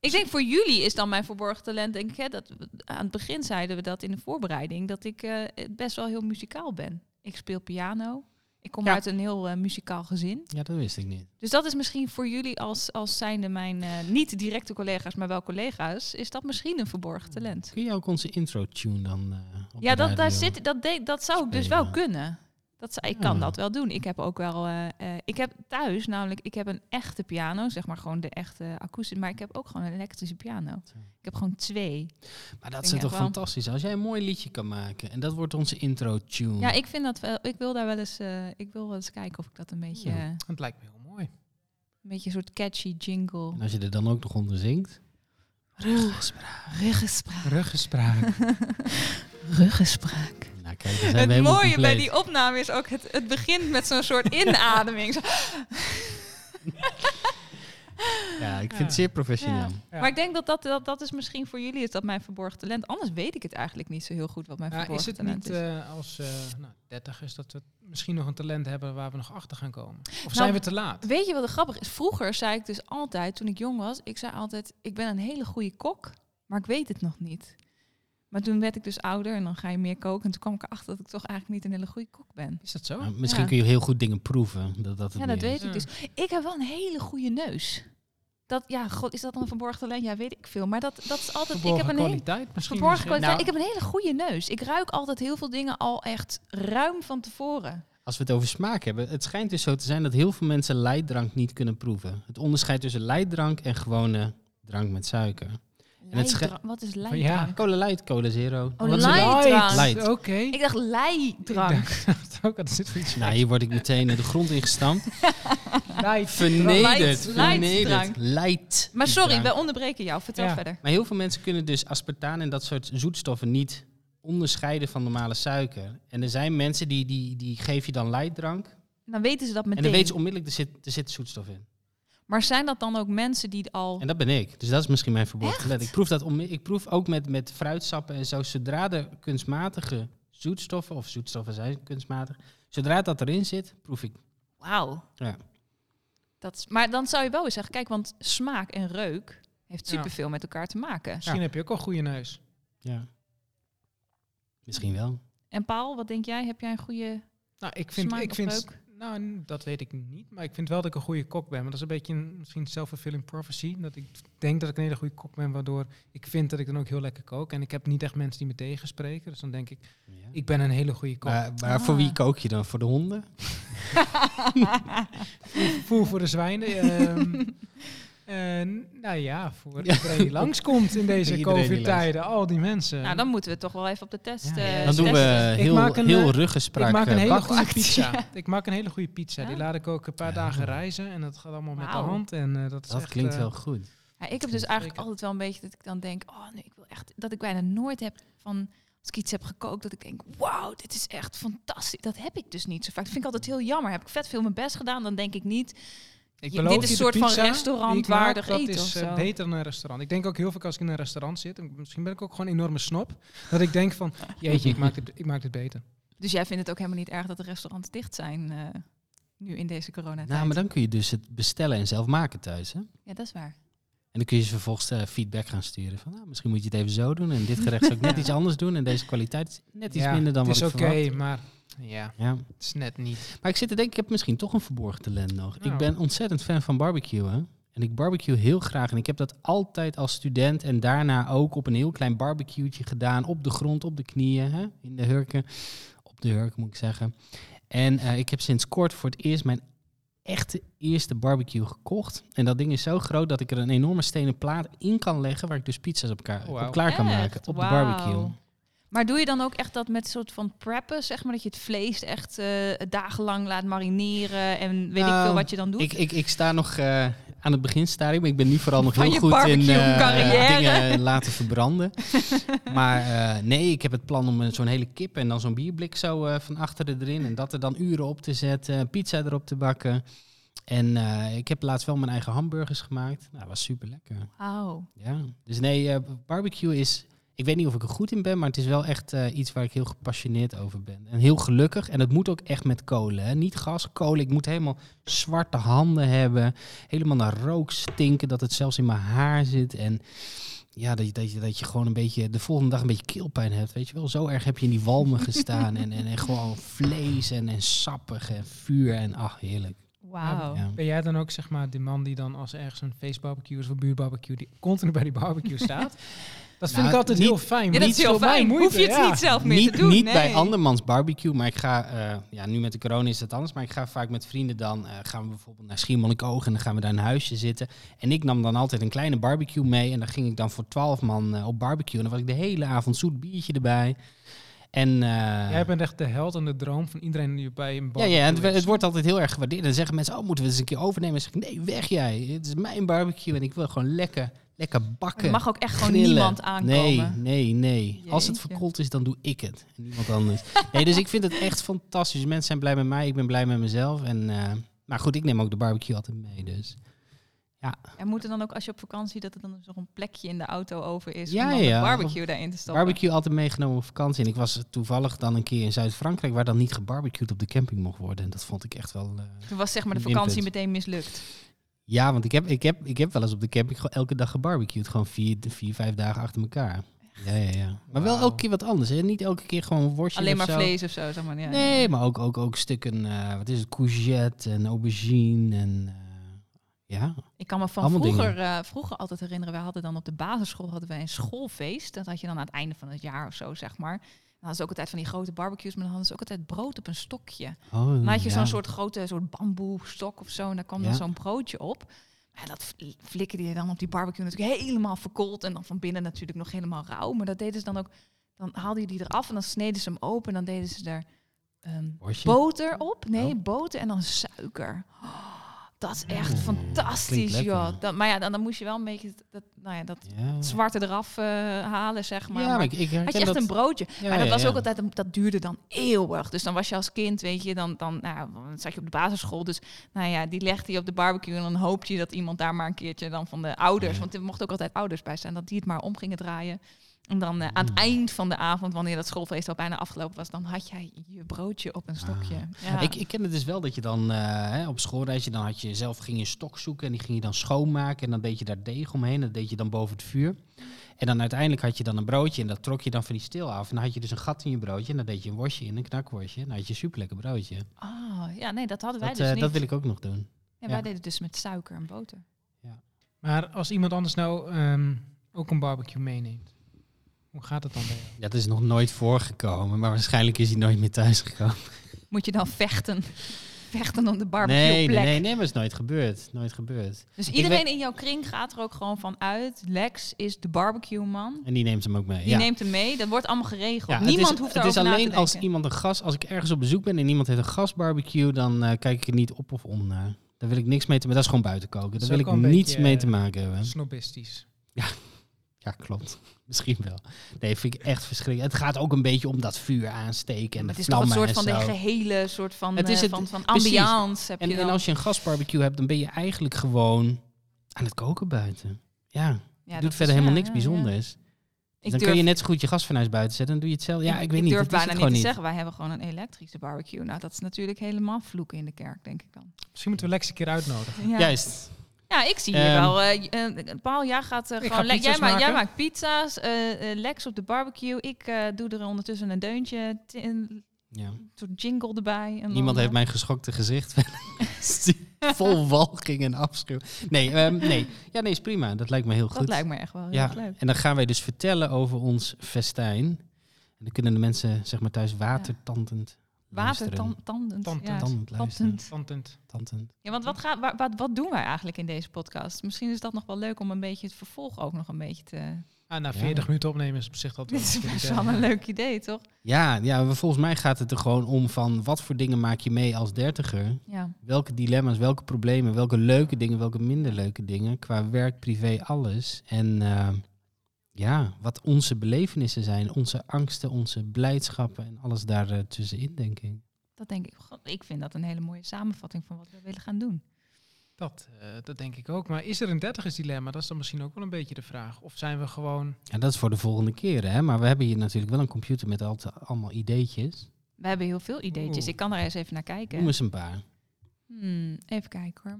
[SPEAKER 3] Ik denk voor jullie is dan mijn verborgen talent, denk ik, hè, dat we- aan het begin zeiden we dat in de voorbereiding, dat ik eh, best wel heel muzikaal ben. Ik speel piano. Ik kom
[SPEAKER 1] Ja.
[SPEAKER 3] uit een heel eh, muzikaal gezin.
[SPEAKER 2] Ja, dat wist ik niet.
[SPEAKER 3] Dus dat is misschien voor jullie als, als zijnde mijn eh, niet directe collega's, maar wel collega's, is dat misschien een verborgen talent.
[SPEAKER 2] Kun je ook onze intro tune dan? eh, op
[SPEAKER 3] Ja,
[SPEAKER 2] de
[SPEAKER 3] dat, daar
[SPEAKER 2] radio?
[SPEAKER 3] zit, dat, deed- dat zou ik dus wel
[SPEAKER 2] spelen.
[SPEAKER 3] kunnen. Dat zou, ik kan
[SPEAKER 2] Ja.
[SPEAKER 3] dat wel doen. Ik heb ook wel. eh, eh, ik heb thuis namelijk. Ik heb een echte piano, zeg maar gewoon de echte akoestische. Maar ik heb ook gewoon een elektrische piano. Ik heb gewoon twee.
[SPEAKER 2] Maar dat
[SPEAKER 3] Vind
[SPEAKER 2] is
[SPEAKER 3] ik
[SPEAKER 2] toch
[SPEAKER 3] echt wel.
[SPEAKER 2] fantastisch. Als jij een mooi liedje kan maken en dat wordt onze intro tune.
[SPEAKER 3] Ja, ik vind dat wel. Ik wil daar wel eens. eh, ik wil wel eens kijken of ik dat een beetje.
[SPEAKER 2] Ja.
[SPEAKER 3] eh,
[SPEAKER 1] Dat lijkt me heel mooi.
[SPEAKER 3] een beetje een soort catchy jingle.
[SPEAKER 2] En als je er dan ook nog onder zingt.
[SPEAKER 3] Ruggespraak. [laughs]
[SPEAKER 1] Ruggespraak.
[SPEAKER 3] Ruggespraak.
[SPEAKER 2] Nou, kijk, dan zijn we
[SPEAKER 3] Het
[SPEAKER 2] helemaal
[SPEAKER 3] mooie bij
[SPEAKER 2] compleet.
[SPEAKER 3] die opname is ook. Het, het begint met zo'n soort [laughs] inademing. Zo.
[SPEAKER 2] Ja, ik vind het zeer professioneel.
[SPEAKER 3] Ja. Maar ik denk dat dat, dat dat is misschien voor jullie is dat mijn verborgen talent. Anders weet ik het eigenlijk niet zo heel goed wat mijn
[SPEAKER 1] Maar is
[SPEAKER 3] verborgen
[SPEAKER 1] het
[SPEAKER 3] talent
[SPEAKER 1] niet
[SPEAKER 3] is.
[SPEAKER 1] eh, als eh nou, 30 is dat we misschien nog een talent hebben waar we nog achter gaan komen? Of
[SPEAKER 3] Nou,
[SPEAKER 1] zijn we te laat?
[SPEAKER 3] Weet je wat grappig is? Vroeger zei ik dus altijd, toen ik jong was, ik zei altijd, ik ben een hele goede kok, maar ik weet het nog niet. Maar toen werd ik dus ouder en dan ga je meer koken. En toen kwam ik erachter dat ik toch eigenlijk niet een hele goede kok ben.
[SPEAKER 1] Is dat zo?
[SPEAKER 2] Maar misschien
[SPEAKER 3] Ja.
[SPEAKER 2] kun je heel goed dingen proeven. Dat, dat het
[SPEAKER 3] Ja, dat
[SPEAKER 2] meer is.
[SPEAKER 3] weet ik dus. Ik heb wel een hele goede neus. Dat, ja, god, is dat dan een verborgen talent? Ja, weet ik veel. Maar dat, dat is altijd, ik
[SPEAKER 1] Verborgen
[SPEAKER 3] heb een hele...
[SPEAKER 1] kwaliteit misschien.
[SPEAKER 3] Verborgen
[SPEAKER 1] is, eh,
[SPEAKER 3] kwaliteit. ik heb een hele goede neus. Ik ruik altijd heel veel dingen al echt ruim van tevoren.
[SPEAKER 2] Als we het over smaak hebben, het schijnt dus zo te zijn dat heel veel mensen leidrank niet kunnen proeven. Het onderscheid tussen leidrank en gewone drank met suiker. het sche-
[SPEAKER 3] Leidra- Wat is leidrank?
[SPEAKER 1] ja.
[SPEAKER 2] Cola light, cola zero.
[SPEAKER 3] Oh,
[SPEAKER 1] Wat is
[SPEAKER 3] leidrank.
[SPEAKER 2] Light.
[SPEAKER 1] Oké.
[SPEAKER 3] Ik dacht leidrank.
[SPEAKER 1] Ook [laughs] dat zit voor iets
[SPEAKER 2] Nou, hier word ik meteen de grond
[SPEAKER 3] [laughs]
[SPEAKER 2] ingestampt.
[SPEAKER 1] Light.
[SPEAKER 2] Vernederd,
[SPEAKER 3] Light-
[SPEAKER 2] vernederd.
[SPEAKER 3] lightdrank.
[SPEAKER 2] Light.
[SPEAKER 3] Maar sorry, we
[SPEAKER 2] wel.
[SPEAKER 3] onderbreken jou. Vertel
[SPEAKER 1] Ja.
[SPEAKER 3] verder.
[SPEAKER 2] Maar heel veel mensen kunnen dus aspartaan en dat soort zoetstoffen niet onderscheiden van normale suiker. En er zijn mensen die, die, die geef je dan lightdrank.
[SPEAKER 3] Dan weten ze dat meteen.
[SPEAKER 2] En dan weet ze onmiddellijk, er zit, er zit zoetstof in.
[SPEAKER 3] Maar zijn dat dan ook mensen die al...
[SPEAKER 2] En dat ben ik. Dus dat is misschien mijn verborgen talent. Ik proef, dat om, ik proef ook met, met fruitsappen en zo. Zodra er kunstmatige zoetstoffen, of zoetstoffen zijn kunstmatig. Zodra dat erin zit, proef ik.
[SPEAKER 3] Wauw.
[SPEAKER 2] Ja.
[SPEAKER 3] Dat is... Maar dan zou je wel eens zeggen, kijk, want smaak en reuk heeft superveel met elkaar te maken.
[SPEAKER 1] Misschien heb je ook wel een goede neus.
[SPEAKER 2] ja. Misschien wel.
[SPEAKER 3] En Paul, wat denk jij? Heb jij een goede
[SPEAKER 1] Nou, ik vind,
[SPEAKER 3] smaak
[SPEAKER 1] ik
[SPEAKER 3] of
[SPEAKER 1] vind,
[SPEAKER 3] reuk?
[SPEAKER 1] nou, n- dat weet ik niet. Maar ik vind wel dat ik een goede kok ben. Maar dat is een beetje een, misschien self-fulfilling prophecy. Dat ik denk dat ik een hele goede kok ben, waardoor ik vind dat ik dan ook heel lekker kook. En ik heb niet echt mensen die me tegenspreken. Dus dan denk ik,
[SPEAKER 2] Ja.
[SPEAKER 1] ik ben een hele goede kok.
[SPEAKER 2] Maar, maar voor wie
[SPEAKER 3] Ah.
[SPEAKER 2] kook je dan? Voor de honden?
[SPEAKER 1] Voer voor de zwijnen.
[SPEAKER 2] [laughs]
[SPEAKER 1] ehm, eh, nou ja, voor iedereen die langskomt in deze
[SPEAKER 2] Iedereen die
[SPEAKER 1] COVID-tijden. Al die mensen.
[SPEAKER 3] Nou, dan moeten we toch wel even op de
[SPEAKER 1] eh,
[SPEAKER 3] test.
[SPEAKER 1] Ja,
[SPEAKER 3] eh,
[SPEAKER 1] ja,
[SPEAKER 2] Dan doen we
[SPEAKER 3] testen.
[SPEAKER 1] Ik
[SPEAKER 2] heel,
[SPEAKER 1] maak een, eh,
[SPEAKER 2] heel ruggespraak.
[SPEAKER 1] ik maak een
[SPEAKER 2] eh,
[SPEAKER 1] hele
[SPEAKER 2] bak-
[SPEAKER 1] goede
[SPEAKER 3] bakkakt.
[SPEAKER 1] pizza. Ik maak een hele goede pizza. Die
[SPEAKER 3] Ja?
[SPEAKER 1] laat ik ook een paar
[SPEAKER 2] Ja.
[SPEAKER 1] dagen reizen. En dat gaat allemaal met de
[SPEAKER 3] Wauw.
[SPEAKER 1] hand. En, eh, dat is
[SPEAKER 2] Dat
[SPEAKER 1] echt,
[SPEAKER 2] klinkt
[SPEAKER 1] eh,
[SPEAKER 2] wel goed.
[SPEAKER 3] Ja, ik heb dus eigenlijk
[SPEAKER 1] Zeker.
[SPEAKER 3] altijd wel een beetje dat ik dan denk, oh nee, ik wil echt dat ik bijna nooit heb van als ik iets heb gekookt dat ik denk, wauw, dit is echt fantastisch. Dat heb ik dus niet zo vaak. Dat vind ik altijd heel jammer. Heb ik vet veel mijn best gedaan, dan denk ik niet.
[SPEAKER 1] Ik
[SPEAKER 3] Je-
[SPEAKER 1] beloof
[SPEAKER 3] dit is
[SPEAKER 1] je, de
[SPEAKER 3] soort van
[SPEAKER 1] pizza
[SPEAKER 3] restaurant
[SPEAKER 1] die ik maak,
[SPEAKER 3] waardig
[SPEAKER 1] dat
[SPEAKER 3] eten
[SPEAKER 1] is
[SPEAKER 3] of
[SPEAKER 1] eh,
[SPEAKER 3] zo.
[SPEAKER 1] beter dan een restaurant. Ik denk ook heel vaak als ik in een restaurant zit, en misschien ben ik ook gewoon een enorme snop, dat ik denk
[SPEAKER 3] [laughs]
[SPEAKER 1] van, jeetje, ik maak dit, ik maak dit beter.
[SPEAKER 3] Dus jij vindt het ook helemaal niet erg dat de restaurants dicht zijn eh, nu in deze coronatijd.
[SPEAKER 2] Nou, maar dan kun je dus het bestellen en zelf maken thuis. Hè?
[SPEAKER 3] Ja, dat is waar.
[SPEAKER 2] En dan kun je ze vervolgens eh, feedback gaan sturen. Van, nou, misschien moet je het even zo doen. En dit gerecht zou ik
[SPEAKER 1] [laughs]
[SPEAKER 2] net iets anders doen. En deze kwaliteit is net iets
[SPEAKER 1] Ja,
[SPEAKER 2] minder dan
[SPEAKER 1] Het
[SPEAKER 2] wat
[SPEAKER 1] is
[SPEAKER 2] ik
[SPEAKER 1] oké,
[SPEAKER 2] verwacht.
[SPEAKER 1] maar ja,
[SPEAKER 2] Ja.
[SPEAKER 1] het is net niet.
[SPEAKER 2] Maar ik zit te denken, ik heb misschien toch een verborgen talent nog.
[SPEAKER 1] Nou.
[SPEAKER 2] Ik ben ontzettend fan van barbecuen. En ik barbecue heel graag. En ik heb dat altijd als student en daarna ook op een heel klein barbecue'tje gedaan. Op de grond, op de knieën, hè? in de hurken. Op de hurken moet ik zeggen. En eh, ik heb sinds kort voor het eerst mijn echte eerste barbecue gekocht. En dat ding is zo groot dat ik er een enorme stenen plaat in kan leggen... waar ik dus pizza's op, elkaar,
[SPEAKER 1] Wauw.
[SPEAKER 2] op klaar kan
[SPEAKER 3] Echt?
[SPEAKER 2] maken op
[SPEAKER 3] Wauw.
[SPEAKER 2] de barbecue.
[SPEAKER 3] Maar doe je dan ook echt dat met een soort van preppen, zeg maar, dat je het vlees echt eh, dagenlang laat marineren en weet ik
[SPEAKER 2] Nou,
[SPEAKER 3] veel wat je dan doet?
[SPEAKER 2] Ik, ik, ik sta nog eh, aan het beginstadium. maar Ik ben nu vooral nog
[SPEAKER 3] Van
[SPEAKER 2] heel
[SPEAKER 3] je
[SPEAKER 2] goed in eh,
[SPEAKER 3] barbecue-carrière.
[SPEAKER 2] dingen laten verbranden. [laughs] maar eh, nee, ik heb het plan om een- zo'n hele kip en dan zo'n bierblik zo eh, van achteren erin. En dat er dan uren op te zetten, pizza erop te bakken. En eh, ik heb laatst wel mijn eigen hamburgers gemaakt. Nou, was super lekker.
[SPEAKER 3] Wauw.
[SPEAKER 2] Ja. Dus nee, eh, barbecue is. Ik weet niet of ik er goed in ben, maar het is wel echt eh, iets waar ik heel gepassioneerd over ben. En heel gelukkig. En het moet ook echt met kolen. Hè? Niet gas, kolen. Ik moet helemaal zwarte handen hebben. Helemaal naar rook stinken. Dat het zelfs in mijn haar zit. En ja, dat je, dat je, dat je gewoon een beetje de volgende dag een beetje keelpijn hebt. Weet je wel, zo erg heb je in die walmen gestaan. En, en, en gewoon vlees en, en sappig en vuur. En ach, heerlijk.
[SPEAKER 3] Wauw.
[SPEAKER 2] Ja.
[SPEAKER 1] Ben jij dan ook zeg maar de man die dan als ergens een feestbarbecue is of een buurtbarbecue, die continu bij die
[SPEAKER 3] [laughs]
[SPEAKER 1] barbecue staat? Dat vind
[SPEAKER 2] Nou,
[SPEAKER 1] ik altijd
[SPEAKER 2] niet-
[SPEAKER 1] heel fijn.
[SPEAKER 3] Ja, dat
[SPEAKER 1] Niet
[SPEAKER 3] is heel
[SPEAKER 1] voor mij
[SPEAKER 3] fijn.
[SPEAKER 1] moeite,
[SPEAKER 3] Hoef je het
[SPEAKER 1] ja.
[SPEAKER 3] niet zelf meer
[SPEAKER 2] Niet,
[SPEAKER 3] te doen.
[SPEAKER 2] niet
[SPEAKER 3] nee.
[SPEAKER 2] bij andermans barbecue, maar ik ga, eh, ja, nu met de corona is dat anders, maar ik ga vaak met vrienden dan, eh, gaan we bijvoorbeeld naar Schiermonnikoog en dan gaan we daar in een huisje zitten. En ik nam dan altijd een kleine barbecue mee en dan ging ik dan voor twaalf man eh, op barbecue en dan was ik de hele avond zoet biertje erbij. En, eh,
[SPEAKER 1] Jij bent echt de held en de droom van iedereen die bij een
[SPEAKER 2] ja,
[SPEAKER 1] barbecue
[SPEAKER 2] ja, het,
[SPEAKER 1] is.
[SPEAKER 2] het wordt altijd heel erg gewaardeerd. En dan zeggen mensen, oh, moeten we het eens een keer overnemen? En dan zeg ik, nee, weg jij. Het is mijn barbecue en ik wil gewoon lekker, lekker
[SPEAKER 3] Er
[SPEAKER 2] bakken.
[SPEAKER 3] mag ook echt gewoon
[SPEAKER 2] Grillen.
[SPEAKER 3] niemand aankomen.
[SPEAKER 2] Nee, nee, nee. Als het
[SPEAKER 3] Jeetje.
[SPEAKER 2] verkoeld is, dan doe ik het. En niemand anders. nee, dus ik vind het echt fantastisch. Dus Mensen zijn blij met mij, ik ben blij met mezelf. En, eh, maar goed, ik neem ook de barbecue altijd mee, dus.
[SPEAKER 3] En moet er dan ook als je op vakantie dat er dan dus nog een plekje in de auto over is
[SPEAKER 2] Ja,
[SPEAKER 3] om dan de
[SPEAKER 2] ja.
[SPEAKER 3] barbecue daarin te stoppen?
[SPEAKER 2] Barbecue altijd meegenomen op vakantie. En ik was toevallig dan een keer in Zuid-Frankrijk... waar dan niet gebarbecued op de camping mocht worden. En dat vond ik echt wel... eh,
[SPEAKER 3] Toen was zeg maar de
[SPEAKER 2] Winpunt.
[SPEAKER 3] vakantie meteen mislukt.
[SPEAKER 2] Ja, want ik heb, ik, heb, ik heb wel eens op de camping gewoon elke dag gebarbecued. Gewoon vier, vier vijf dagen achter elkaar. Ja, ja, ja. Maar wel
[SPEAKER 1] Wauw.
[SPEAKER 2] elke keer wat anders. Hè? Niet elke keer gewoon een worstje
[SPEAKER 3] Alleen
[SPEAKER 2] of
[SPEAKER 3] maar
[SPEAKER 2] zo.
[SPEAKER 3] vlees of zo, zeg maar. Ja.
[SPEAKER 2] Nee, maar ook, ook, ook stukken, eh, wat is het, courgette en aubergine en eh, ja.
[SPEAKER 3] Ik kan me van
[SPEAKER 2] Allemaal
[SPEAKER 3] vroeger, eh, vroeger altijd herinneren, wij hadden dan op de basisschool hadden wij een schoolfeest. Dat had je dan aan het einde van het jaar of zo, zeg maar. Dan hadden ze ook altijd van die grote barbecues, maar dan hadden ze ook altijd brood op een stokje.
[SPEAKER 2] Oh,
[SPEAKER 3] Dan had je
[SPEAKER 2] ja.
[SPEAKER 3] zo'n soort grote soort bamboestok of zo en daar kwam
[SPEAKER 2] Ja.
[SPEAKER 3] dan zo'n broodje op. En dat fl- flikkerde je dan op die barbecue natuurlijk helemaal verkoold en dan van binnen natuurlijk nog helemaal rauw. Maar dat deden ze dan ook, dan haalden je die eraf en dan sneden ze hem open en dan deden ze er ehm,
[SPEAKER 2] Worstje?
[SPEAKER 3] boter op. Nee,
[SPEAKER 2] Oh.
[SPEAKER 3] boter en dan suiker. Oh, dat is echt
[SPEAKER 2] Oeh, klinkt
[SPEAKER 3] fantastisch,
[SPEAKER 2] lekker.
[SPEAKER 3] joh. Dat, maar ja, dan, dan moest je wel een beetje dat- dat, nou ja, dat
[SPEAKER 2] Ja.
[SPEAKER 3] het zwarte eraf eh, halen, zeg maar.
[SPEAKER 2] ja,
[SPEAKER 3] Maar-
[SPEAKER 2] maar ik, ik herken
[SPEAKER 3] had je echt
[SPEAKER 2] dat...
[SPEAKER 3] een broodje.
[SPEAKER 2] Ja,
[SPEAKER 3] maar dat
[SPEAKER 2] ja,
[SPEAKER 3] was
[SPEAKER 2] ja.
[SPEAKER 3] ook altijd, een- dat duurde dan eeuwig. Dus dan was je als kind, weet je, dan, dan, nou, dan zat je op de basisschool. Dus nou ja, die legde je op de barbecue. En dan hoopte je dat iemand daar maar een keertje dan van de ouders,
[SPEAKER 2] Ja.
[SPEAKER 3] want er mochten ook altijd ouders bij zijn, dat die het maar om gingen draaien. En dan eh, aan het
[SPEAKER 2] Hmm.
[SPEAKER 3] eind van de avond, wanneer dat schoolfeest al bijna afgelopen was, dan had jij je broodje op een stokje. Ja.
[SPEAKER 2] Ah. Ik, ik ken het dus wel dat je dan eh, hè, op schoolreisje, dan had je zelf ging je stok zoeken en die ging je dan schoonmaken en dan deed je daar deeg omheen en dat deed je dan boven het vuur. En dan uiteindelijk had je dan een broodje en dat trok je dan van die steel af en dan had je dus een gat in je broodje en dan deed je een worstje in, een knakworstje en dan had je een superlekker broodje.
[SPEAKER 3] Ah, ja, nee, dat hadden wij
[SPEAKER 2] Dat,
[SPEAKER 3] dus
[SPEAKER 2] eh,
[SPEAKER 3] niet.
[SPEAKER 2] dat wil ik ook nog doen.
[SPEAKER 3] Ja, wij
[SPEAKER 2] ja.
[SPEAKER 3] deden het dus met suiker en boter.
[SPEAKER 1] Maar als iemand anders nou ehm, ook een barbecue meeneemt, hoe gaat het dan bij jou?
[SPEAKER 2] Ja, Dat is nog nooit voorgekomen, maar waarschijnlijk is hij nooit meer thuis gekomen.
[SPEAKER 3] Moet je dan vechten? [laughs] Vechten om de barbecue
[SPEAKER 2] Nee, nee,
[SPEAKER 3] plek.
[SPEAKER 2] nee, nee, maar het is nooit gebeurd. Nooit gebeurd.
[SPEAKER 3] Dus
[SPEAKER 2] Ik
[SPEAKER 3] iedereen in jouw kring gaat er ook gewoon van uit. Lex is de barbecue man.
[SPEAKER 2] En die neemt hem ook mee.
[SPEAKER 3] Die
[SPEAKER 2] ja.
[SPEAKER 3] neemt hem mee. Dat wordt allemaal geregeld.
[SPEAKER 2] Ja,
[SPEAKER 3] Niemand
[SPEAKER 2] het is,
[SPEAKER 3] hoeft
[SPEAKER 2] Het is
[SPEAKER 3] daarover na te
[SPEAKER 2] alleen
[SPEAKER 3] denken.
[SPEAKER 2] als iemand een gas, als ik ergens op bezoek ben en iemand heeft een gasbarbecue, dan eh, kijk ik er niet op of om naar. Daar wil ik niks mee te maken. Dat is gewoon buiten koken. Daar
[SPEAKER 1] is
[SPEAKER 2] wil
[SPEAKER 1] ook
[SPEAKER 2] ik
[SPEAKER 1] wel een
[SPEAKER 2] niets
[SPEAKER 1] beetje,
[SPEAKER 2] mee
[SPEAKER 1] eh,
[SPEAKER 2] te maken hebben.
[SPEAKER 1] Snobistisch.
[SPEAKER 2] Ja, klopt. [laughs] Misschien wel. Nee, vind ik echt verschrikkelijk. Het gaat ook een beetje om dat vuur aansteken en
[SPEAKER 3] het
[SPEAKER 2] de
[SPEAKER 3] is toch een
[SPEAKER 2] vlammen
[SPEAKER 3] soort
[SPEAKER 2] en
[SPEAKER 3] van
[SPEAKER 2] zo.
[SPEAKER 3] de gehele soort van,
[SPEAKER 2] Het
[SPEAKER 3] het
[SPEAKER 2] is het-
[SPEAKER 3] van, van
[SPEAKER 2] precies.
[SPEAKER 3] ambiance. Heb je
[SPEAKER 2] en, en
[SPEAKER 3] dan.
[SPEAKER 2] als je een gasbarbecue hebt, dan ben je eigenlijk gewoon aan het koken buiten. Ja, je
[SPEAKER 3] ja, dat
[SPEAKER 2] doet
[SPEAKER 3] is-
[SPEAKER 2] verder
[SPEAKER 3] ja,
[SPEAKER 2] helemaal niks
[SPEAKER 3] ja, ja.
[SPEAKER 2] bijzonders. Dus dan
[SPEAKER 3] Ik durf,
[SPEAKER 2] kun je net zo goed je gasfornuis buiten zetten en doe je het zelf. Ja, ik, weet niet.
[SPEAKER 3] durf
[SPEAKER 2] dat is het
[SPEAKER 3] bijna niet
[SPEAKER 2] gewoon
[SPEAKER 3] te zeggen. Wij hebben gewoon een elektrische barbecue. Nou, dat is natuurlijk helemaal vloeken in de kerk, denk ik dan.
[SPEAKER 1] Misschien moeten we Lex een keer uitnodigen.
[SPEAKER 3] Ja.
[SPEAKER 2] Juist.
[SPEAKER 3] Ja, ik zie hier
[SPEAKER 2] Ehm.
[SPEAKER 3] wel. eh, j- eh, Paul, jij gaat eh,
[SPEAKER 1] Ik
[SPEAKER 3] gewoon.
[SPEAKER 1] ga
[SPEAKER 3] le- jij,
[SPEAKER 1] pizza's
[SPEAKER 3] maakt, jij
[SPEAKER 1] maken.
[SPEAKER 3] maakt pizza's. eh, eh, Lex op de barbecue. Ik eh, doe er ondertussen een deuntje. t- Een
[SPEAKER 2] Ja.
[SPEAKER 3] soort jingle erbij. En
[SPEAKER 2] Niemand
[SPEAKER 3] dan,
[SPEAKER 2] heeft
[SPEAKER 3] eh,
[SPEAKER 2] mijn geschokte gezicht. [laughs]
[SPEAKER 3] [laughs]
[SPEAKER 2] Vol walging en afschuw. Nee, ehm, nee. Ja, nee, is prima. Dat lijkt me heel
[SPEAKER 3] Dat
[SPEAKER 2] goed.
[SPEAKER 3] lijkt me echt wel heel
[SPEAKER 2] ja.
[SPEAKER 3] erg leuk.
[SPEAKER 2] En dan gaan wij dus vertellen over ons festijn. En dan kunnen de mensen zeg maar thuis watertandend
[SPEAKER 3] Water,
[SPEAKER 2] luisteren.
[SPEAKER 3] tan- tandend.
[SPEAKER 1] Tandend.
[SPEAKER 3] Ja.
[SPEAKER 2] Tandend luisteren.
[SPEAKER 3] Tandend.
[SPEAKER 1] Tandend.
[SPEAKER 2] Tandend.
[SPEAKER 3] Ja, want wat, gaat, wa- wat, wat doen wij eigenlijk in deze podcast? Misschien is dat nog wel leuk om een beetje het vervolg ook nog een beetje te...
[SPEAKER 1] Ah, na
[SPEAKER 2] Ja.
[SPEAKER 1] 40 minuten opnemen is op zich
[SPEAKER 3] [laughs]
[SPEAKER 1] dat
[SPEAKER 3] Dit is best wel
[SPEAKER 1] eh,
[SPEAKER 3] een leuk idee, toch?
[SPEAKER 2] Ja, ja, we- volgens mij gaat het er gewoon om van wat voor dingen maak je mee als dertiger?
[SPEAKER 3] Ja.
[SPEAKER 2] Welke dilemma's, welke problemen, welke leuke dingen, welke minder leuke dingen. Qua werk, privé, alles. En eh, ja, wat onze belevenissen zijn. Onze angsten, onze blijdschappen en alles daar eh, tussenin, denk ik.
[SPEAKER 3] Dat denk ik. God, ik vind dat een hele mooie samenvatting van wat we willen gaan doen.
[SPEAKER 1] Dat, eh, dat denk ik ook. Maar is er een dertigers dilemma? Dat is dan misschien ook wel een beetje de vraag. Of zijn we gewoon...
[SPEAKER 2] Ja, dat is voor de volgende keer, hè. Maar we hebben hier natuurlijk wel een computer met al te- allemaal ideetjes.
[SPEAKER 3] We hebben heel veel ideetjes.
[SPEAKER 1] Oeh.
[SPEAKER 3] Ik kan daar eens even naar
[SPEAKER 2] Noem
[SPEAKER 3] kijken.
[SPEAKER 2] eens een paar.
[SPEAKER 3] Hmm, even kijken hoor.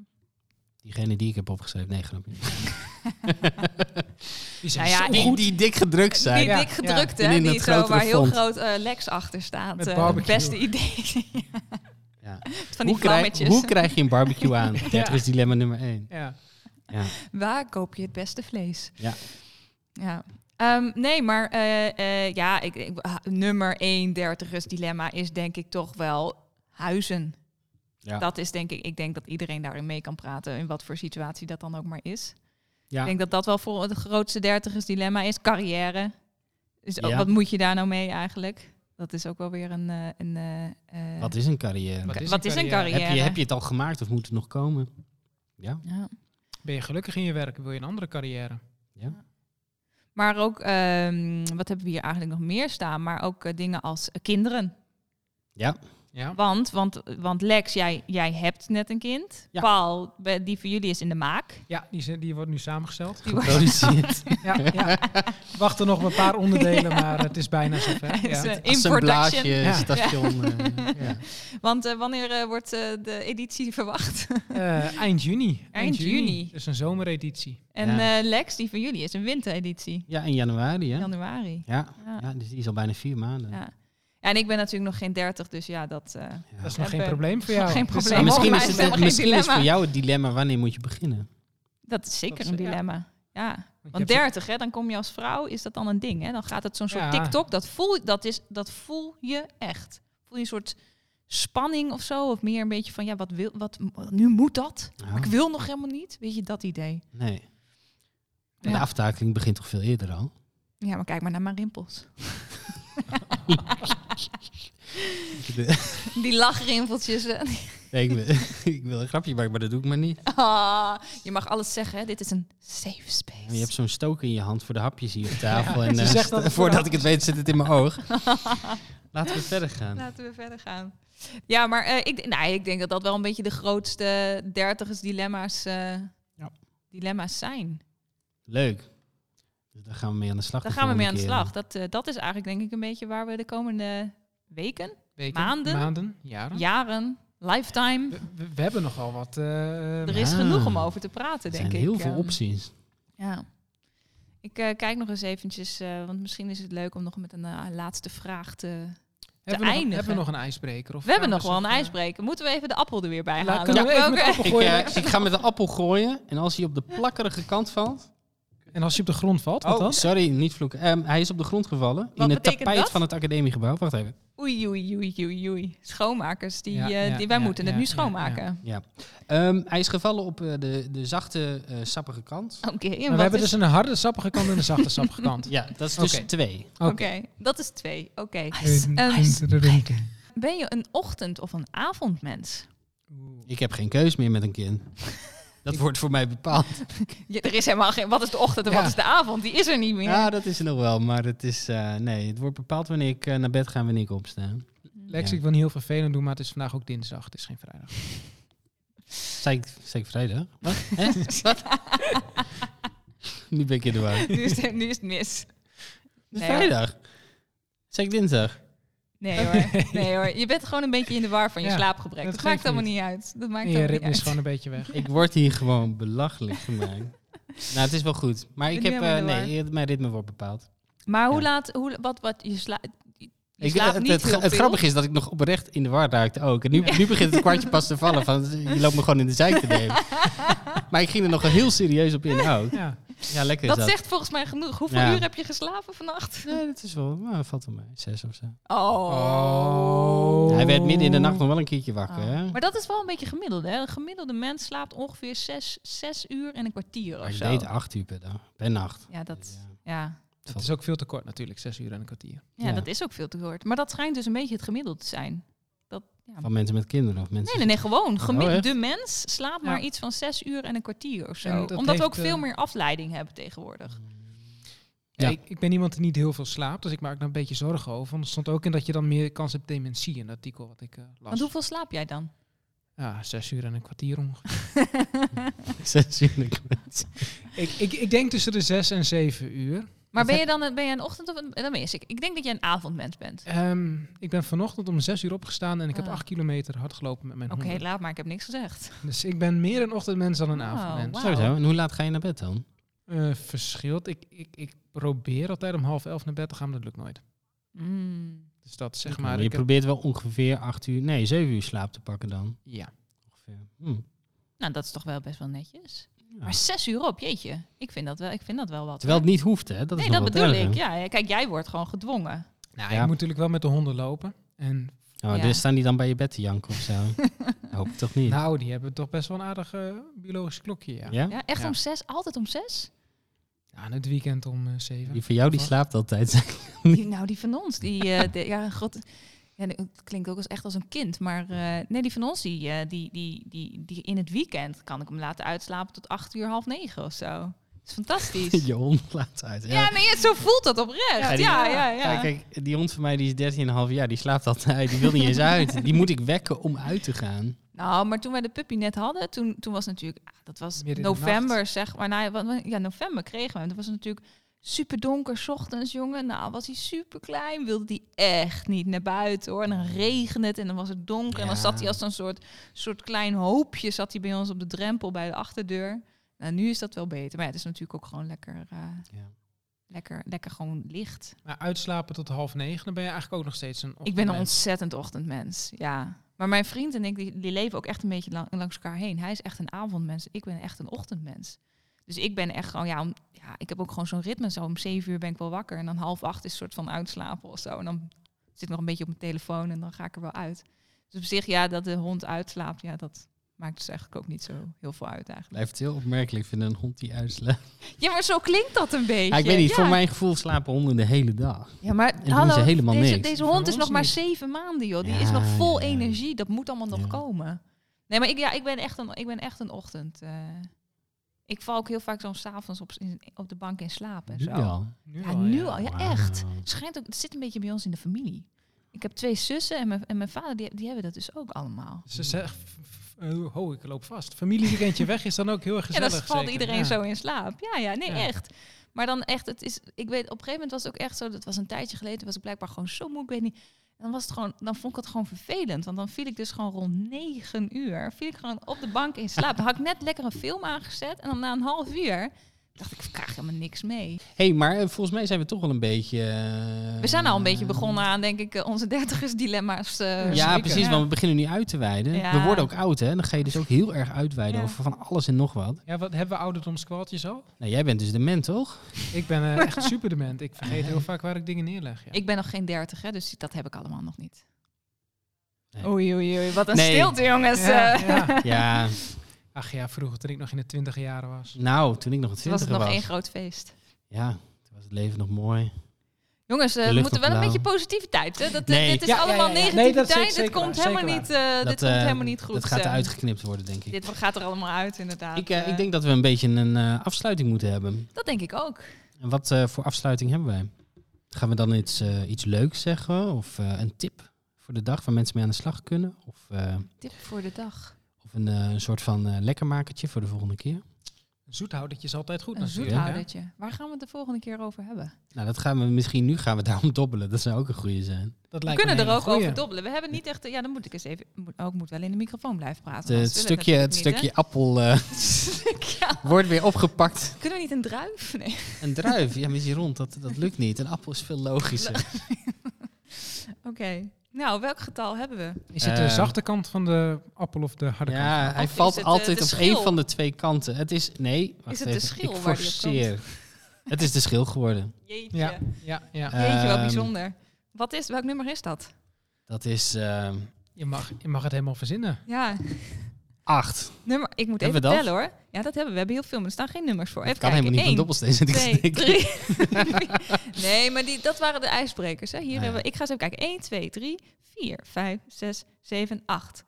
[SPEAKER 2] Diegene die ik heb opgeschreven. Nee, grapje.
[SPEAKER 3] [laughs]
[SPEAKER 1] Die zijn
[SPEAKER 3] Nou ja,
[SPEAKER 1] zo
[SPEAKER 3] ik-
[SPEAKER 1] goed.
[SPEAKER 2] die dik gedrukt
[SPEAKER 3] Die
[SPEAKER 1] Ja,
[SPEAKER 3] dik
[SPEAKER 1] ja.
[SPEAKER 3] gedrukt,
[SPEAKER 2] En
[SPEAKER 3] hè?
[SPEAKER 2] in
[SPEAKER 3] Die
[SPEAKER 2] dat
[SPEAKER 3] zo waar
[SPEAKER 2] grotere
[SPEAKER 3] heel
[SPEAKER 2] font.
[SPEAKER 3] groot eh, Lex achter staat.
[SPEAKER 1] Met
[SPEAKER 3] eh,
[SPEAKER 1] barbecue.
[SPEAKER 3] beste idee. [laughs]
[SPEAKER 2] Ja.
[SPEAKER 3] Van die
[SPEAKER 2] Hoe, krijg,
[SPEAKER 3] vlammetjes.
[SPEAKER 2] hoe krijg je een barbecue
[SPEAKER 3] [laughs]
[SPEAKER 2] aan? Dat is dilemma nummer één.
[SPEAKER 1] Ja.
[SPEAKER 2] Ja.
[SPEAKER 3] Waar koop je het beste vlees?
[SPEAKER 2] Ja.
[SPEAKER 3] Ja. Ehm, nee, maar eh, eh, ja, ik, ik- ah, nummer 31 dilemma is denk ik toch wel huizen.
[SPEAKER 2] Ja.
[SPEAKER 3] Dat is denk ik, ik denk dat iedereen daarin mee kan praten, in wat voor situatie dat dan ook maar is.
[SPEAKER 2] Ja.
[SPEAKER 3] Ik denk dat dat wel voor het grootste dertigers dilemma is. Carrière. Dus ook,
[SPEAKER 2] Ja.
[SPEAKER 3] wat moet je daar nou mee eigenlijk? Dat is ook wel weer een... eh, een eh, eh,
[SPEAKER 2] Wat is een carrière?
[SPEAKER 1] Wat
[SPEAKER 3] ka-
[SPEAKER 1] is
[SPEAKER 3] wat
[SPEAKER 1] een
[SPEAKER 3] is een
[SPEAKER 1] carrière?
[SPEAKER 3] carrière?
[SPEAKER 2] Heb je, heb je het al gemaakt of moet het nog
[SPEAKER 3] [laughs]
[SPEAKER 2] komen?
[SPEAKER 3] Ja.
[SPEAKER 1] Ben je gelukkig in je werk? Wil je een andere carrière?
[SPEAKER 3] Maar ook, ehm, wat hebben we hier eigenlijk nog meer staan? Maar ook eh, dingen als eh, kinderen.
[SPEAKER 2] Ja.
[SPEAKER 1] Ja.
[SPEAKER 3] Want, want, want Lex, jij, jij hebt net een kind.
[SPEAKER 2] Ja.
[SPEAKER 3] Paul, be- die voor jullie is in de maak.
[SPEAKER 1] Ja, die, zijn- die wordt nu
[SPEAKER 3] [laughs]
[SPEAKER 1] samengesteld.
[SPEAKER 3] Die wordt-
[SPEAKER 2] Geproduceerd. [laughs]
[SPEAKER 1] Ja, ja. [laughs] Wachten nog een paar onderdelen, maar het is bijna
[SPEAKER 3] Hij [laughs]
[SPEAKER 1] zover.
[SPEAKER 3] is, eh,
[SPEAKER 1] Ja.
[SPEAKER 3] in production.
[SPEAKER 2] Assemblage,
[SPEAKER 1] Ja.
[SPEAKER 2] station. eh, ja.
[SPEAKER 3] [laughs] Want eh, wanneer eh, wordt eh, de editie verwacht? [laughs]
[SPEAKER 1] Eh, eind juni. Eind,
[SPEAKER 3] juni.
[SPEAKER 1] Dus een zomereditie.
[SPEAKER 3] en
[SPEAKER 2] Ja.
[SPEAKER 3] eh, Lex, die van jullie is een wintereditie.
[SPEAKER 2] ja, in januari, hè?
[SPEAKER 3] Januari.
[SPEAKER 2] Ja.
[SPEAKER 3] Ja. Ja.
[SPEAKER 2] ja, dus die is al bijna vier maanden.
[SPEAKER 3] Ja, en ik ben natuurlijk nog geen 30, dus ja, dat... eh,
[SPEAKER 1] Dat is nog
[SPEAKER 3] Hebben-
[SPEAKER 1] geen probleem
[SPEAKER 3] [laughs]
[SPEAKER 1] voor
[SPEAKER 3] is nog
[SPEAKER 1] jou.
[SPEAKER 3] geen
[SPEAKER 1] Dus dan
[SPEAKER 3] probleem.
[SPEAKER 2] Maar
[SPEAKER 1] mogen
[SPEAKER 2] Nou, misschien
[SPEAKER 1] wij
[SPEAKER 2] is,
[SPEAKER 3] Volgens
[SPEAKER 1] zelf-
[SPEAKER 2] het, misschien
[SPEAKER 3] mij helemaal geen
[SPEAKER 2] is voor
[SPEAKER 3] dilemma.
[SPEAKER 2] jou het dilemma wanneer moet je beginnen.
[SPEAKER 3] dat is zeker
[SPEAKER 1] Dat is-
[SPEAKER 3] een
[SPEAKER 1] ja.
[SPEAKER 3] dilemma. Ja,
[SPEAKER 1] je
[SPEAKER 3] want
[SPEAKER 1] hebt-
[SPEAKER 3] 30, hè, dan kom je als vrouw, is dat dan een ding. Hè? Dan gaat het zo'n soort
[SPEAKER 1] Ja.
[SPEAKER 3] TikTok, dat voel, dat, is, dat voel je echt. Voel je een soort spanning of zo, of meer een beetje van, ja, wat wil, wat, nu moet dat.
[SPEAKER 2] Nou,
[SPEAKER 3] Maar ik wil nog helemaal niet. Weet je, dat idee.
[SPEAKER 2] nee.
[SPEAKER 3] Ja.
[SPEAKER 2] De aftakeling begint toch veel eerder
[SPEAKER 3] [laughs]
[SPEAKER 2] al?
[SPEAKER 3] Ja, maar kijk maar naar mijn rimpels. [laughs]
[SPEAKER 2] De-
[SPEAKER 3] Die lachrimpeltjes. hè.
[SPEAKER 2] nee, [laughs] ik, wil, [laughs] ik wil een grapje maken, maar dat doe ik maar niet.
[SPEAKER 3] Ah, je mag alles zeggen, hè. dit is een safe
[SPEAKER 2] En je hebt
[SPEAKER 3] space.
[SPEAKER 2] zo'n stoker in je hand voor de hapjes hier op tafel.
[SPEAKER 3] [laughs]
[SPEAKER 2] en,
[SPEAKER 1] ze
[SPEAKER 2] eh,
[SPEAKER 1] zegt
[SPEAKER 2] [laughs]
[SPEAKER 1] dat het
[SPEAKER 2] voordat
[SPEAKER 1] vooraf
[SPEAKER 2] ik het weet zit het in mijn oog. Laten we verder gaan.
[SPEAKER 3] Laten we verder gaan. Ja, maar eh, ik, d- nee, ik denk dat dat wel een beetje de grootste dertigers dilemma's, eh,
[SPEAKER 1] Ja.
[SPEAKER 3] dilemma's zijn.
[SPEAKER 2] Leuk. Dus daar gaan we mee aan de slag.
[SPEAKER 3] Daar gaan we mee aan de
[SPEAKER 2] volgende
[SPEAKER 3] slag. Dat, eh, dat is eigenlijk denk ik een beetje waar we de komende weken,
[SPEAKER 1] Weken,
[SPEAKER 3] Maanden?
[SPEAKER 1] Maanden, jaren.
[SPEAKER 3] jaren, lifetime.
[SPEAKER 1] We, we- we hebben nogal wat. eh,
[SPEAKER 3] Er is
[SPEAKER 2] Ah.
[SPEAKER 3] genoeg om over te praten,
[SPEAKER 2] keer. Er
[SPEAKER 3] denk
[SPEAKER 2] zijn
[SPEAKER 3] ik.
[SPEAKER 2] heel veel
[SPEAKER 3] Ehm,
[SPEAKER 2] opties.
[SPEAKER 3] Ja. Ik eh, kijk nog eens eventjes, eh, want misschien is het leuk om nog met een eh, laatste vraag te...
[SPEAKER 1] hebben, we nog,
[SPEAKER 3] eindigen.
[SPEAKER 1] hebben we nog een ijsbreker? Of
[SPEAKER 3] We hebben
[SPEAKER 1] gaan
[SPEAKER 3] nog wel een
[SPEAKER 1] eens even-
[SPEAKER 3] ijsbreker. Moeten we even de appel er weer bij
[SPEAKER 1] Laat-
[SPEAKER 3] halen?
[SPEAKER 1] kunnen we even
[SPEAKER 3] Welke-
[SPEAKER 1] met de appel
[SPEAKER 2] Ik,
[SPEAKER 1] gooien?
[SPEAKER 2] eh, ik ga met de appel gooien. En als hij op de plakkerige kant valt...
[SPEAKER 1] En als je op de grond valt, wat
[SPEAKER 2] Oh,
[SPEAKER 1] dan?
[SPEAKER 2] sorry, niet vloeken. Ehm, hij is op de grond gevallen. in het
[SPEAKER 3] betekent
[SPEAKER 2] tapijt
[SPEAKER 3] dat?
[SPEAKER 2] van het academiegebouw. Wacht even.
[SPEAKER 3] [laughs] Oei, oei, oei, oei, oei. Schoonmakers, die,
[SPEAKER 1] Ja,
[SPEAKER 3] eh,
[SPEAKER 1] ja,
[SPEAKER 3] die, wij
[SPEAKER 1] ja,
[SPEAKER 3] moeten het
[SPEAKER 1] ja,
[SPEAKER 3] nu
[SPEAKER 1] ja,
[SPEAKER 3] schoonmaken.
[SPEAKER 2] Ehm, hij is gevallen op eh, de, de zachte, eh, sappige kant.
[SPEAKER 3] Oké, en
[SPEAKER 1] Maar
[SPEAKER 3] wat
[SPEAKER 1] we hebben
[SPEAKER 3] is-
[SPEAKER 1] dus een harde sappige kant en een zachte sappige
[SPEAKER 3] [laughs]
[SPEAKER 1] kant.
[SPEAKER 2] Ja, dat is dus
[SPEAKER 1] Oké.
[SPEAKER 2] twee.
[SPEAKER 1] Oké.
[SPEAKER 3] Oké, dat is twee. Oké.
[SPEAKER 1] Een-
[SPEAKER 3] Ehm,
[SPEAKER 1] een-
[SPEAKER 3] ben je een ochtend- of een avondmens?
[SPEAKER 1] Oeh.
[SPEAKER 2] Ik heb geen keus meer met een kind. Dat wordt voor mij bepaald.
[SPEAKER 3] Ja, er is helemaal geen... Wat is de ochtend en
[SPEAKER 2] Ja.
[SPEAKER 3] wat is de avond? Die is er niet meer.
[SPEAKER 2] Ja, dat is er nog wel. Maar het, is, eh, nee, het wordt bepaald wanneer ik eh, naar bed ga en wanneer ik opsta.
[SPEAKER 1] Lex,
[SPEAKER 2] Ja.
[SPEAKER 1] ik wil niet heel vervelend doen, maar het is vandaag ook dinsdag. Het is geen vrijdag.
[SPEAKER 2] Zei ik, zei ik vrijdag? Wat?
[SPEAKER 3] [laughs]
[SPEAKER 2] Hè? Wat? nu ben ik in de war.
[SPEAKER 3] [laughs] Nu, is het, nu is het mis.
[SPEAKER 2] Het is
[SPEAKER 3] Nee, hoor.
[SPEAKER 2] Dus vrijdag. Zei ik dinsdag?
[SPEAKER 3] Nee hoor. nee hoor, je bent gewoon een beetje in de war van je
[SPEAKER 1] Ja,
[SPEAKER 3] slaapgebrek.
[SPEAKER 1] dat
[SPEAKER 3] Dat, maakt
[SPEAKER 1] geeft
[SPEAKER 3] allemaal niet uit. Dat maakt
[SPEAKER 1] En je
[SPEAKER 3] allemaal
[SPEAKER 1] ritme is
[SPEAKER 3] niet uit.
[SPEAKER 1] gewoon een beetje
[SPEAKER 3] [laughs]
[SPEAKER 1] weg.
[SPEAKER 2] Ik word hier gewoon belachelijk gemaakt. nou, het is wel goed. Maar ik
[SPEAKER 3] Ben je
[SPEAKER 2] heb,
[SPEAKER 3] helemaal in de
[SPEAKER 2] eh, nee, mijn ritme wordt bepaald.
[SPEAKER 3] Maar hoe
[SPEAKER 2] Ja.
[SPEAKER 3] laat... Hoe, wat, wat, je, sla, je
[SPEAKER 2] Ik,
[SPEAKER 3] slaapt
[SPEAKER 2] het,
[SPEAKER 3] niet
[SPEAKER 2] het,
[SPEAKER 3] heel
[SPEAKER 2] het
[SPEAKER 3] veel. [laughs]
[SPEAKER 2] grappige is dat ik nog oprecht in de war raakte ook. En nu, nu begint het kwartje pas te vallen. Van, je loopt me gewoon in de zijk te nemen. maar ik ging er nog heel serieus op in ook.
[SPEAKER 1] Ja.
[SPEAKER 2] Ja, lekker is
[SPEAKER 3] Dat
[SPEAKER 2] dat.
[SPEAKER 3] zegt volgens mij genoeg. Hoeveel
[SPEAKER 2] Ja.
[SPEAKER 3] uur heb je geslapen vannacht?
[SPEAKER 2] Nee, dat is wel... Nou, valt wel mee. Zes of zo.
[SPEAKER 3] Oh.
[SPEAKER 2] Hij werd midden in de nacht nog wel een keertje wakker. Hè?
[SPEAKER 3] Maar dat is wel een beetje gemiddeld, hè? Een gemiddelde mens slaapt ongeveer zes, zes uur en een kwartier
[SPEAKER 2] Maar
[SPEAKER 3] of
[SPEAKER 2] ik
[SPEAKER 3] zo.
[SPEAKER 2] deed acht uur per dag. Per nacht.
[SPEAKER 3] Ja,
[SPEAKER 2] Dus,
[SPEAKER 3] dat,
[SPEAKER 2] ja.
[SPEAKER 3] ja.
[SPEAKER 1] Het is ook veel te kort natuurlijk, zes uur en een kwartier.
[SPEAKER 3] Ja,
[SPEAKER 2] Ja.
[SPEAKER 3] dat is ook veel te kort. Maar dat schijnt dus een beetje het gemiddelde te zijn. Dat, ja.
[SPEAKER 2] Van mensen met [laughs] kinderen of mensen...
[SPEAKER 3] Nee, nee, nee, gewoon. Gemi-
[SPEAKER 2] Oh, echt?
[SPEAKER 3] de mens slaapt maar
[SPEAKER 1] Ja.
[SPEAKER 3] iets van zes uur en een kwartier of zo.
[SPEAKER 1] En dat
[SPEAKER 3] Omdat we ook
[SPEAKER 1] heeft,
[SPEAKER 3] veel
[SPEAKER 1] eh,
[SPEAKER 3] meer afleiding hebben tegenwoordig.
[SPEAKER 1] Ja.
[SPEAKER 2] Ja.
[SPEAKER 1] Ik, ik ben iemand die niet heel veel slaapt, dus ik maak daar een beetje zorgen over. Want er stond ook in dat je dan meer kans hebt dementie in dat artikel wat ik eh, las.
[SPEAKER 3] Want hoeveel slaap jij dan?
[SPEAKER 1] Ja, zes uur en een kwartier ongeveer.
[SPEAKER 2] Zes uur in de kwart.
[SPEAKER 1] ik, ik, ik denk tussen de zes en zeven uur.
[SPEAKER 3] Maar ben je dan een- ben je een ochtend of een... Dan mis ik. Ik denk dat jij een avondmens bent.
[SPEAKER 1] Ehm, ik ben vanochtend om zes uur opgestaan en ik heb
[SPEAKER 3] Ah.
[SPEAKER 1] acht kilometer hard gelopen met mijn
[SPEAKER 3] Oké,
[SPEAKER 1] honden.
[SPEAKER 3] laat maar. Ik heb niks gezegd.
[SPEAKER 1] Dus ik ben meer een ochtendmens dan een
[SPEAKER 3] Oh,
[SPEAKER 1] avondmens.
[SPEAKER 3] wauw.
[SPEAKER 2] Sowieso. Nou, En hoe laat ga je naar bed dan?
[SPEAKER 1] Eh, verschilt. Ik, ik, ik probeer altijd om half elf naar bed te gaan, maar dat lukt nooit.
[SPEAKER 3] Mm.
[SPEAKER 1] Dus dat zeg
[SPEAKER 2] Oké,
[SPEAKER 1] maar.
[SPEAKER 2] je
[SPEAKER 1] ik heb-
[SPEAKER 2] probeert wel ongeveer acht uur... Nee, zeven uur slaap te pakken dan.
[SPEAKER 1] ja.
[SPEAKER 2] Ongeveer. Hm.
[SPEAKER 3] Nou, dat is toch wel best wel netjes.
[SPEAKER 2] Ja.
[SPEAKER 3] Maar zes uur op, jeetje. Ik vind dat wel, ik vind dat wel wat.
[SPEAKER 2] Terwijl het niet hoeft, hè? Dat is
[SPEAKER 3] nee,
[SPEAKER 2] nog
[SPEAKER 3] dat
[SPEAKER 2] wel
[SPEAKER 3] bedoel
[SPEAKER 2] erger.
[SPEAKER 3] ik. Ja, ja, kijk, jij wordt gewoon gedwongen.
[SPEAKER 1] Nou,
[SPEAKER 2] Ja.
[SPEAKER 1] ik moet natuurlijk wel met de honden lopen. En
[SPEAKER 2] Oh,
[SPEAKER 3] Ja.
[SPEAKER 2] dus staan die dan bij je bed te janken of zo?
[SPEAKER 3] [laughs]
[SPEAKER 2] Hoop ik toch niet.
[SPEAKER 1] nou, die hebben toch best wel een aardig eh, biologisch klokje, ja.
[SPEAKER 2] ja?
[SPEAKER 3] Ja, echt
[SPEAKER 1] Ja.
[SPEAKER 3] om zes? Altijd om zes?
[SPEAKER 1] Ja, en het weekend om eh, zeven.
[SPEAKER 2] Die van jou die slaapt altijd.
[SPEAKER 3] Die, nou, die van ons, die, eh, de- ja, god, ja, nee, het klinkt ook als echt als een kind, maar eh, nee, die van ons, die, eh, die, die, die, die in het weekend kan ik hem laten uitslapen tot acht uur, half negen of zo. Dat is
[SPEAKER 2] [laughs]
[SPEAKER 3] fantastisch.
[SPEAKER 2] je hond laat uit.
[SPEAKER 3] ja, nee, het- zo voelt dat oprecht.
[SPEAKER 2] die-
[SPEAKER 3] Ja, ja,
[SPEAKER 2] Ja,
[SPEAKER 3] ja.
[SPEAKER 2] kijk, die hond van mij die is 13,5 jaar, die slaapt altijd. Die wil niet eens uit. Die moet ik wekken om uit te gaan.
[SPEAKER 3] Nou, maar toen wij de puppy net hadden, toen, toen was natuurlijk, ah, dat was
[SPEAKER 1] Midden in de
[SPEAKER 3] november, zeg maar. Nou, ja, wa- wa- ja, november kregen we hem. Toen was het natuurlijk super donker 's ochtends, jongen. Nou, was hij super klein, wilde die echt niet naar buiten hoor. En dan regende het en dan was het donker. En dan
[SPEAKER 2] Ja.
[SPEAKER 3] zat hij als een soort, soort klein hoopje, zat hij bij ons op de drempel bij de achterdeur. Nou, nu is dat wel beter. Maar ja, het is natuurlijk ook gewoon lekker, eh,
[SPEAKER 2] Ja.
[SPEAKER 3] lekker, lekker gewoon licht.
[SPEAKER 1] Maar uitslapen tot half negen, dan ben je eigenlijk ook nog steeds een
[SPEAKER 3] Ik ben een
[SPEAKER 1] ochtendmens.
[SPEAKER 3] ontzettend ochtendmens, ja. Maar mijn vriend en ik, die, die leven ook echt een beetje lang- langs elkaar heen. Hij is echt een avondmens, ik ben echt een ochtendmens. Dus ik ben echt gewoon, ja, om- ja ik heb ook gewoon zo'n ritme. Zo om zeven uur ben ik wel wakker en dan half acht is een soort van uitslapen of zo. En dan zit ik nog een beetje op mijn telefoon en dan ga ik er wel uit. Dus op zich, ja, dat de hond uitslaapt, ja, dat maakt dus eigenlijk ook niet zo heel veel uit eigenlijk.
[SPEAKER 2] Blijft het heel opmerkelijk vinden een hond die uitslaapt.
[SPEAKER 3] Ja, maar zo klinkt dat een beetje.
[SPEAKER 2] Ja, ik weet niet,
[SPEAKER 3] Ja.
[SPEAKER 2] voor mijn gevoel slapen honden de hele dag.
[SPEAKER 3] Ja, maar
[SPEAKER 2] doen
[SPEAKER 3] hallo,
[SPEAKER 2] ze helemaal
[SPEAKER 3] deze,
[SPEAKER 2] niks.
[SPEAKER 3] deze
[SPEAKER 2] Voor
[SPEAKER 3] hond is
[SPEAKER 2] ons
[SPEAKER 3] nog maar
[SPEAKER 2] niet.
[SPEAKER 3] zeven maanden, joh. Die is
[SPEAKER 2] Ja,
[SPEAKER 3] nog vol
[SPEAKER 2] ja, ja.
[SPEAKER 3] energie. Dat moet allemaal nog
[SPEAKER 2] Ja.
[SPEAKER 3] komen. Nee, maar ik, ja, ik, ben, echt een, ik ben echt een ochtend. eh. ik val ook heel vaak zo'n s'avonds op, s- in- op de bank in slaap en zo.
[SPEAKER 1] Nu
[SPEAKER 3] Ja,
[SPEAKER 1] al,
[SPEAKER 3] nu
[SPEAKER 1] ja.
[SPEAKER 3] al. Oh Ja,
[SPEAKER 2] Wauw.
[SPEAKER 3] echt. Schijnt ook, het zit een beetje bij ons in de familie. Ik heb twee zussen en mijn, en mijn vader, die, die hebben dat dus ook allemaal.
[SPEAKER 1] Ze zegt, f- f- eh, ho, ik loop vast.
[SPEAKER 3] [laughs]
[SPEAKER 1] Familieweekendje weg is dan ook heel erg
[SPEAKER 3] En
[SPEAKER 1] gezellig.
[SPEAKER 3] dan valt
[SPEAKER 1] zeker.
[SPEAKER 3] iedereen
[SPEAKER 1] Ja.
[SPEAKER 3] zo in slaap. Ja, ja, nee,
[SPEAKER 1] Ja.
[SPEAKER 3] echt. Maar dan echt, het is, ik weet, op een gegeven moment was het ook echt zo, dat was een tijdje geleden, was ik blijkbaar gewoon zo moe, ik weet niet. En dan was het gewoon, dan vond ik het gewoon vervelend, want dan viel ik dus gewoon rond negen uur, viel ik gewoon op de bank in slaap. Dan had ik net lekker een film aangezet en dan na een half uur dacht ik, ik krijg helemaal niks mee.
[SPEAKER 2] hey, maar eh, volgens mij zijn we toch wel een beetje... eh,
[SPEAKER 3] We zijn al een beetje begonnen aan, denk ik, eh, onze dertigers dilemma's. eh,
[SPEAKER 2] Ja,
[SPEAKER 1] Zeker.
[SPEAKER 2] precies,
[SPEAKER 1] Ja.
[SPEAKER 2] want we beginnen nu uit te wijden.
[SPEAKER 3] Ja.
[SPEAKER 2] We worden ook oud, hè? Dan ga je dus ook heel erg uitweiden
[SPEAKER 3] Ja.
[SPEAKER 2] over van alles en nog wat.
[SPEAKER 1] Ja, wat hebben we ouderdomskwaltjes al?
[SPEAKER 2] Nou, jij bent dus de man,
[SPEAKER 3] [laughs]
[SPEAKER 2] toch?
[SPEAKER 1] Ik ben eh, echt super dement. Ik vergeet heel vaak waar ik dingen neerleg. Ja.
[SPEAKER 3] dus Ik ben nog geen dertig, hè, dus dat heb ik allemaal nog niet.
[SPEAKER 2] Nee.
[SPEAKER 3] Oei, oei, oei, wat een
[SPEAKER 2] Nee.
[SPEAKER 3] stilte, jongens.
[SPEAKER 1] Ja,
[SPEAKER 3] eh.
[SPEAKER 1] ja.
[SPEAKER 2] Ja,
[SPEAKER 1] Ach ja, vroeger toen ik nog in de twintig jaren was.
[SPEAKER 2] nou, toen ik nog een
[SPEAKER 3] Toen was het
[SPEAKER 2] twintiger
[SPEAKER 3] nog
[SPEAKER 2] was.
[SPEAKER 3] één Eh, groot feest.
[SPEAKER 2] Ja, toen was het leven nog mooi.
[SPEAKER 3] Jongens, eh,
[SPEAKER 2] De
[SPEAKER 3] we
[SPEAKER 2] lucht
[SPEAKER 3] moeten wel een
[SPEAKER 2] op
[SPEAKER 3] beetje
[SPEAKER 2] blauw.
[SPEAKER 3] positiviteit. Hè? Dat, eh,
[SPEAKER 2] Nee.
[SPEAKER 3] Dit is
[SPEAKER 1] Ja, ja, ja,
[SPEAKER 3] allemaal
[SPEAKER 1] ja. Nee, dat is
[SPEAKER 3] negativiteit. dit
[SPEAKER 1] zeker
[SPEAKER 3] komt,
[SPEAKER 1] waar,
[SPEAKER 3] helemaal
[SPEAKER 1] zeker
[SPEAKER 3] niet, eh, dit
[SPEAKER 2] eh,
[SPEAKER 3] komt helemaal niet goed.
[SPEAKER 2] Dat gaat
[SPEAKER 3] eh.
[SPEAKER 2] eruit uitgeknipt worden, denk ik.
[SPEAKER 3] Dit gaat er allemaal uit, inderdaad.
[SPEAKER 2] ik, eh,
[SPEAKER 3] eh.
[SPEAKER 2] ik denk dat we een beetje een eh, afsluiting moeten hebben.
[SPEAKER 3] Dat denk ik ook.
[SPEAKER 2] En wat eh, voor afsluiting hebben wij? Gaan we dan iets, eh, iets leuks zeggen? Of eh, een tip voor de dag waar mensen mee aan de slag kunnen? Of, eh,
[SPEAKER 3] Tip voor de dag.
[SPEAKER 2] of een, eh, een soort van eh, lekkermakertje voor de volgende keer?
[SPEAKER 1] Een zoethoudertje is altijd goed
[SPEAKER 3] Een
[SPEAKER 1] natuurlijk. hè?
[SPEAKER 3] zoethoudertje. Waar gaan we het de volgende keer over hebben?
[SPEAKER 2] Nou, dat gaan we misschien nu gaan we daarom dobbelen. Dat zou ook een goede zijn.
[SPEAKER 1] Dat
[SPEAKER 3] We
[SPEAKER 1] lijkt me
[SPEAKER 3] kunnen
[SPEAKER 1] een
[SPEAKER 3] er
[SPEAKER 1] hele
[SPEAKER 3] ook
[SPEAKER 1] goeie.
[SPEAKER 3] over dobbelen. We hebben niet echt... eh, Ja, dan moet ik eens even... Moet, ook moet wel in de microfoon blijven praten.
[SPEAKER 2] Het, eh,
[SPEAKER 3] anders
[SPEAKER 2] het
[SPEAKER 3] willen we
[SPEAKER 2] stukje, het
[SPEAKER 3] natuurlijk
[SPEAKER 2] stukje appel
[SPEAKER 3] [laughs]
[SPEAKER 2] eh,
[SPEAKER 3] niet, hè? Ja.
[SPEAKER 2] wordt weer opgepakt.
[SPEAKER 3] Kunnen we niet een druif? Nee.
[SPEAKER 2] Een druif, ja, met die rond, dat, dat lukt niet. Een appel is veel
[SPEAKER 3] Nou,
[SPEAKER 2] logischer.
[SPEAKER 3] Oké. Nou, welk getal hebben we?
[SPEAKER 1] Is het de
[SPEAKER 2] Eh,
[SPEAKER 1] zachte kant van de appel of de harde kant?
[SPEAKER 2] Ja, hij
[SPEAKER 3] Of is
[SPEAKER 2] valt
[SPEAKER 3] het, eh,
[SPEAKER 2] altijd
[SPEAKER 3] de
[SPEAKER 2] op
[SPEAKER 3] schil?
[SPEAKER 2] één van de twee kanten. Het is, nee, wacht
[SPEAKER 3] Is het de
[SPEAKER 2] even.
[SPEAKER 3] schil
[SPEAKER 2] ik
[SPEAKER 3] waar die op
[SPEAKER 2] forceer. Het is de schil geworden.
[SPEAKER 3] Jeetje.
[SPEAKER 1] Ja, ja, ja.
[SPEAKER 3] Jeetje, wel
[SPEAKER 2] Ehm,
[SPEAKER 3] bijzonder. Wat is, welk nummer is dat?
[SPEAKER 2] Dat is ehm
[SPEAKER 1] Je, mag, je mag het helemaal verzinnen.
[SPEAKER 3] Ja,
[SPEAKER 2] acht.
[SPEAKER 3] Nummer, ik moet
[SPEAKER 2] Hebben
[SPEAKER 3] even
[SPEAKER 2] we dat?
[SPEAKER 3] tellen hoor. Ja, dat hebben we. We hebben heel veel, maar er staan geen nummers voor.
[SPEAKER 2] Het
[SPEAKER 3] Even
[SPEAKER 2] kan
[SPEAKER 3] kijken.
[SPEAKER 2] helemaal niet van
[SPEAKER 3] Eén,
[SPEAKER 2] dobbelsteen zitten.
[SPEAKER 3] twee,
[SPEAKER 2] ik te denken.
[SPEAKER 3] drie. [laughs]
[SPEAKER 2] [laughs]
[SPEAKER 3] nee, maar die, dat waren de ijsbrekers. Hè. Hier
[SPEAKER 2] Nou Ja.
[SPEAKER 3] hebben we, ik ga eens even kijken. 1, 2, 3, 4, 5, 6, 7, 8.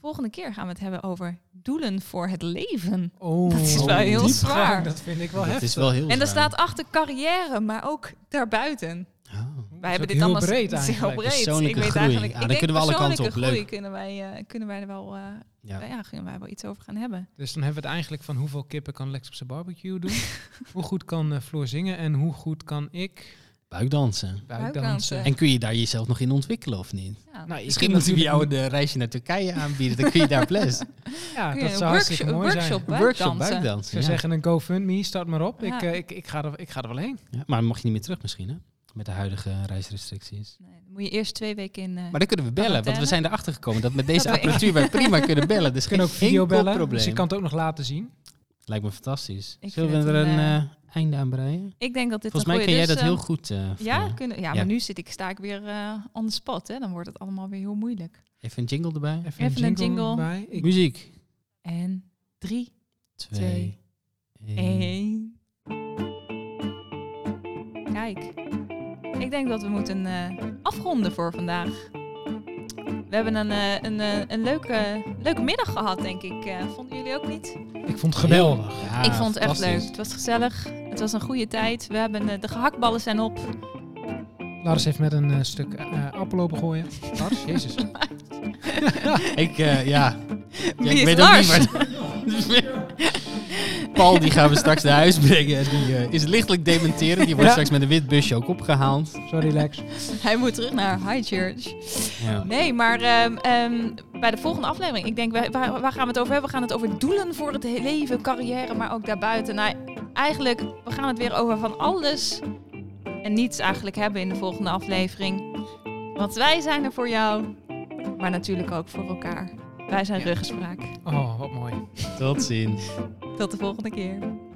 [SPEAKER 3] Volgende keer gaan we het hebben over doelen voor het leven.
[SPEAKER 1] Oh,
[SPEAKER 3] Dat is wel heel
[SPEAKER 1] diep
[SPEAKER 3] zwaar.
[SPEAKER 1] gaan, Dat vind ik wel
[SPEAKER 2] [laughs] Dat
[SPEAKER 1] heftig.
[SPEAKER 2] is wel heel
[SPEAKER 3] En daar
[SPEAKER 2] zwaar.
[SPEAKER 3] staat achter carrière, maar ook daarbuiten.
[SPEAKER 2] Oh.
[SPEAKER 1] Oeh,
[SPEAKER 3] Wij
[SPEAKER 1] dat
[SPEAKER 3] hebben
[SPEAKER 1] is
[SPEAKER 3] dit
[SPEAKER 1] ook
[SPEAKER 3] allemaal
[SPEAKER 1] heel breed
[SPEAKER 3] het is heel
[SPEAKER 1] eigenlijk.
[SPEAKER 3] breed.
[SPEAKER 2] Persoonlijke
[SPEAKER 3] ik weet
[SPEAKER 2] groei.
[SPEAKER 3] eigenlijk,
[SPEAKER 2] Ja,
[SPEAKER 3] ik
[SPEAKER 2] dan
[SPEAKER 3] denk
[SPEAKER 2] kunnen we alle kanten
[SPEAKER 3] persoonlijke
[SPEAKER 2] op. Leuk.
[SPEAKER 3] groei Kunnen wij, eh, kunnen wij er wel, eh,
[SPEAKER 2] Ja.
[SPEAKER 3] ja, kunnen wij wel iets over gaan hebben.
[SPEAKER 1] Dus dan hebben we het eigenlijk van hoeveel kippen kan Lex op zijn barbecue doen.
[SPEAKER 3] [laughs]
[SPEAKER 1] hoe goed kan eh, Floor zingen en hoe goed kan ik
[SPEAKER 2] Buikdansen.
[SPEAKER 1] buikdansen.
[SPEAKER 2] En kun je daar jezelf nog in ontwikkelen of niet?
[SPEAKER 3] Ja.
[SPEAKER 1] Nou, je
[SPEAKER 2] Misschien
[SPEAKER 1] kunt
[SPEAKER 2] moeten we jou
[SPEAKER 1] natuurlijk-
[SPEAKER 2] een eh, reisje naar Turkije aanbieden. Dan kun je daar les.
[SPEAKER 1] Ja,
[SPEAKER 3] Kun je
[SPEAKER 1] dat
[SPEAKER 3] een
[SPEAKER 1] zou hartstikke
[SPEAKER 3] workshop-
[SPEAKER 1] mooi zijn.
[SPEAKER 3] workshop
[SPEAKER 2] Een workshop
[SPEAKER 3] buikdansen.
[SPEAKER 1] Ik
[SPEAKER 2] buikdansen.
[SPEAKER 1] zou
[SPEAKER 2] Ja.
[SPEAKER 1] zeggen een GoFundMe, start maar op.
[SPEAKER 3] Ja.
[SPEAKER 1] Ik, eh, ik, ik, ga er, ik ga er wel heen.
[SPEAKER 2] Ja, maar dan mag je niet meer terug misschien, hè? Met de huidige reisrestricties.
[SPEAKER 3] Nee, dan moet je eerst twee weken in. eh,
[SPEAKER 2] Maar dan kunnen we bellen, want we
[SPEAKER 3] Quarantaine.
[SPEAKER 2] zijn erachter gekomen dat met deze
[SPEAKER 3] Dat we-
[SPEAKER 2] apparatuur wij prima kunnen bellen. Dus
[SPEAKER 1] We kunnen ook
[SPEAKER 2] geen
[SPEAKER 1] video bellen,
[SPEAKER 2] probleem.
[SPEAKER 1] dus ik kan het ook nog laten zien.
[SPEAKER 2] Lijkt me fantastisch.
[SPEAKER 3] Ik
[SPEAKER 2] Zullen
[SPEAKER 3] vind
[SPEAKER 2] we er
[SPEAKER 3] het
[SPEAKER 2] een
[SPEAKER 3] een,
[SPEAKER 2] eh, einde aan breien?
[SPEAKER 3] ik denk dat dit
[SPEAKER 2] Volgens mij
[SPEAKER 3] een
[SPEAKER 2] ken jij
[SPEAKER 3] goeie- dus,
[SPEAKER 2] dat heel
[SPEAKER 3] ehm,
[SPEAKER 2] goed. eh,
[SPEAKER 3] Ja,
[SPEAKER 2] Floor.
[SPEAKER 3] kunnen, ja, maar
[SPEAKER 2] Ja.
[SPEAKER 3] nu zit ik, sta ik weer eh on the spot. Hè. Dan wordt het allemaal weer heel moeilijk.
[SPEAKER 2] Even een jingle erbij.
[SPEAKER 1] Even,
[SPEAKER 3] Even een
[SPEAKER 1] een jingle,
[SPEAKER 3] jingle.
[SPEAKER 1] erbij. Ik-
[SPEAKER 2] Muziek.
[SPEAKER 3] En drie, Twee,
[SPEAKER 2] één.
[SPEAKER 3] één. Kijk, ik denk dat we moeten eh, afronden voor vandaag. We hebben een, eh, een, eh, een leuke, leuke middag gehad, denk ik. Eh, vonden jullie ook niet?
[SPEAKER 1] Ik vond het geweldig.
[SPEAKER 2] Ja,
[SPEAKER 3] ik vond het echt leuk.
[SPEAKER 2] Ah, fantastisch.
[SPEAKER 3] Het was gezellig. Het was een goede tijd. We hebben, eh, de gehaktballen zijn op.
[SPEAKER 1] Lars heeft met een eh, stuk eh appel open gooien. Lars, [laughs] jezus.
[SPEAKER 2] Ik, eh,
[SPEAKER 3] [laughs]
[SPEAKER 2] ja. ja
[SPEAKER 3] Wie is
[SPEAKER 2] ik weet
[SPEAKER 3] Lars?
[SPEAKER 2] ook
[SPEAKER 3] [laughs]
[SPEAKER 2] niet waar. Paul, die gaan we straks naar huis brengen. Die eh, is lichtelijk dementeren. Die wordt
[SPEAKER 1] Ja.
[SPEAKER 2] straks met een wit busje ook opgehaald.
[SPEAKER 1] Sorry Lex.
[SPEAKER 3] Hij moet terug naar High Church.
[SPEAKER 2] Ja.
[SPEAKER 3] Nee, maar ehm, ehm, bij de volgende aflevering, ik denk, waar, waar waar gaan we het over hebben? We gaan het over doelen voor het he- leven, carrière, maar ook daarbuiten. Nou, eigenlijk, we gaan het weer over van alles en niets eigenlijk hebben in de volgende aflevering. Want wij zijn er voor jou, maar natuurlijk ook voor elkaar. Wij zijn Ruggespraak.
[SPEAKER 1] Oh, wat mooi.
[SPEAKER 2] Tot ziens.
[SPEAKER 3] Tot de volgende keer.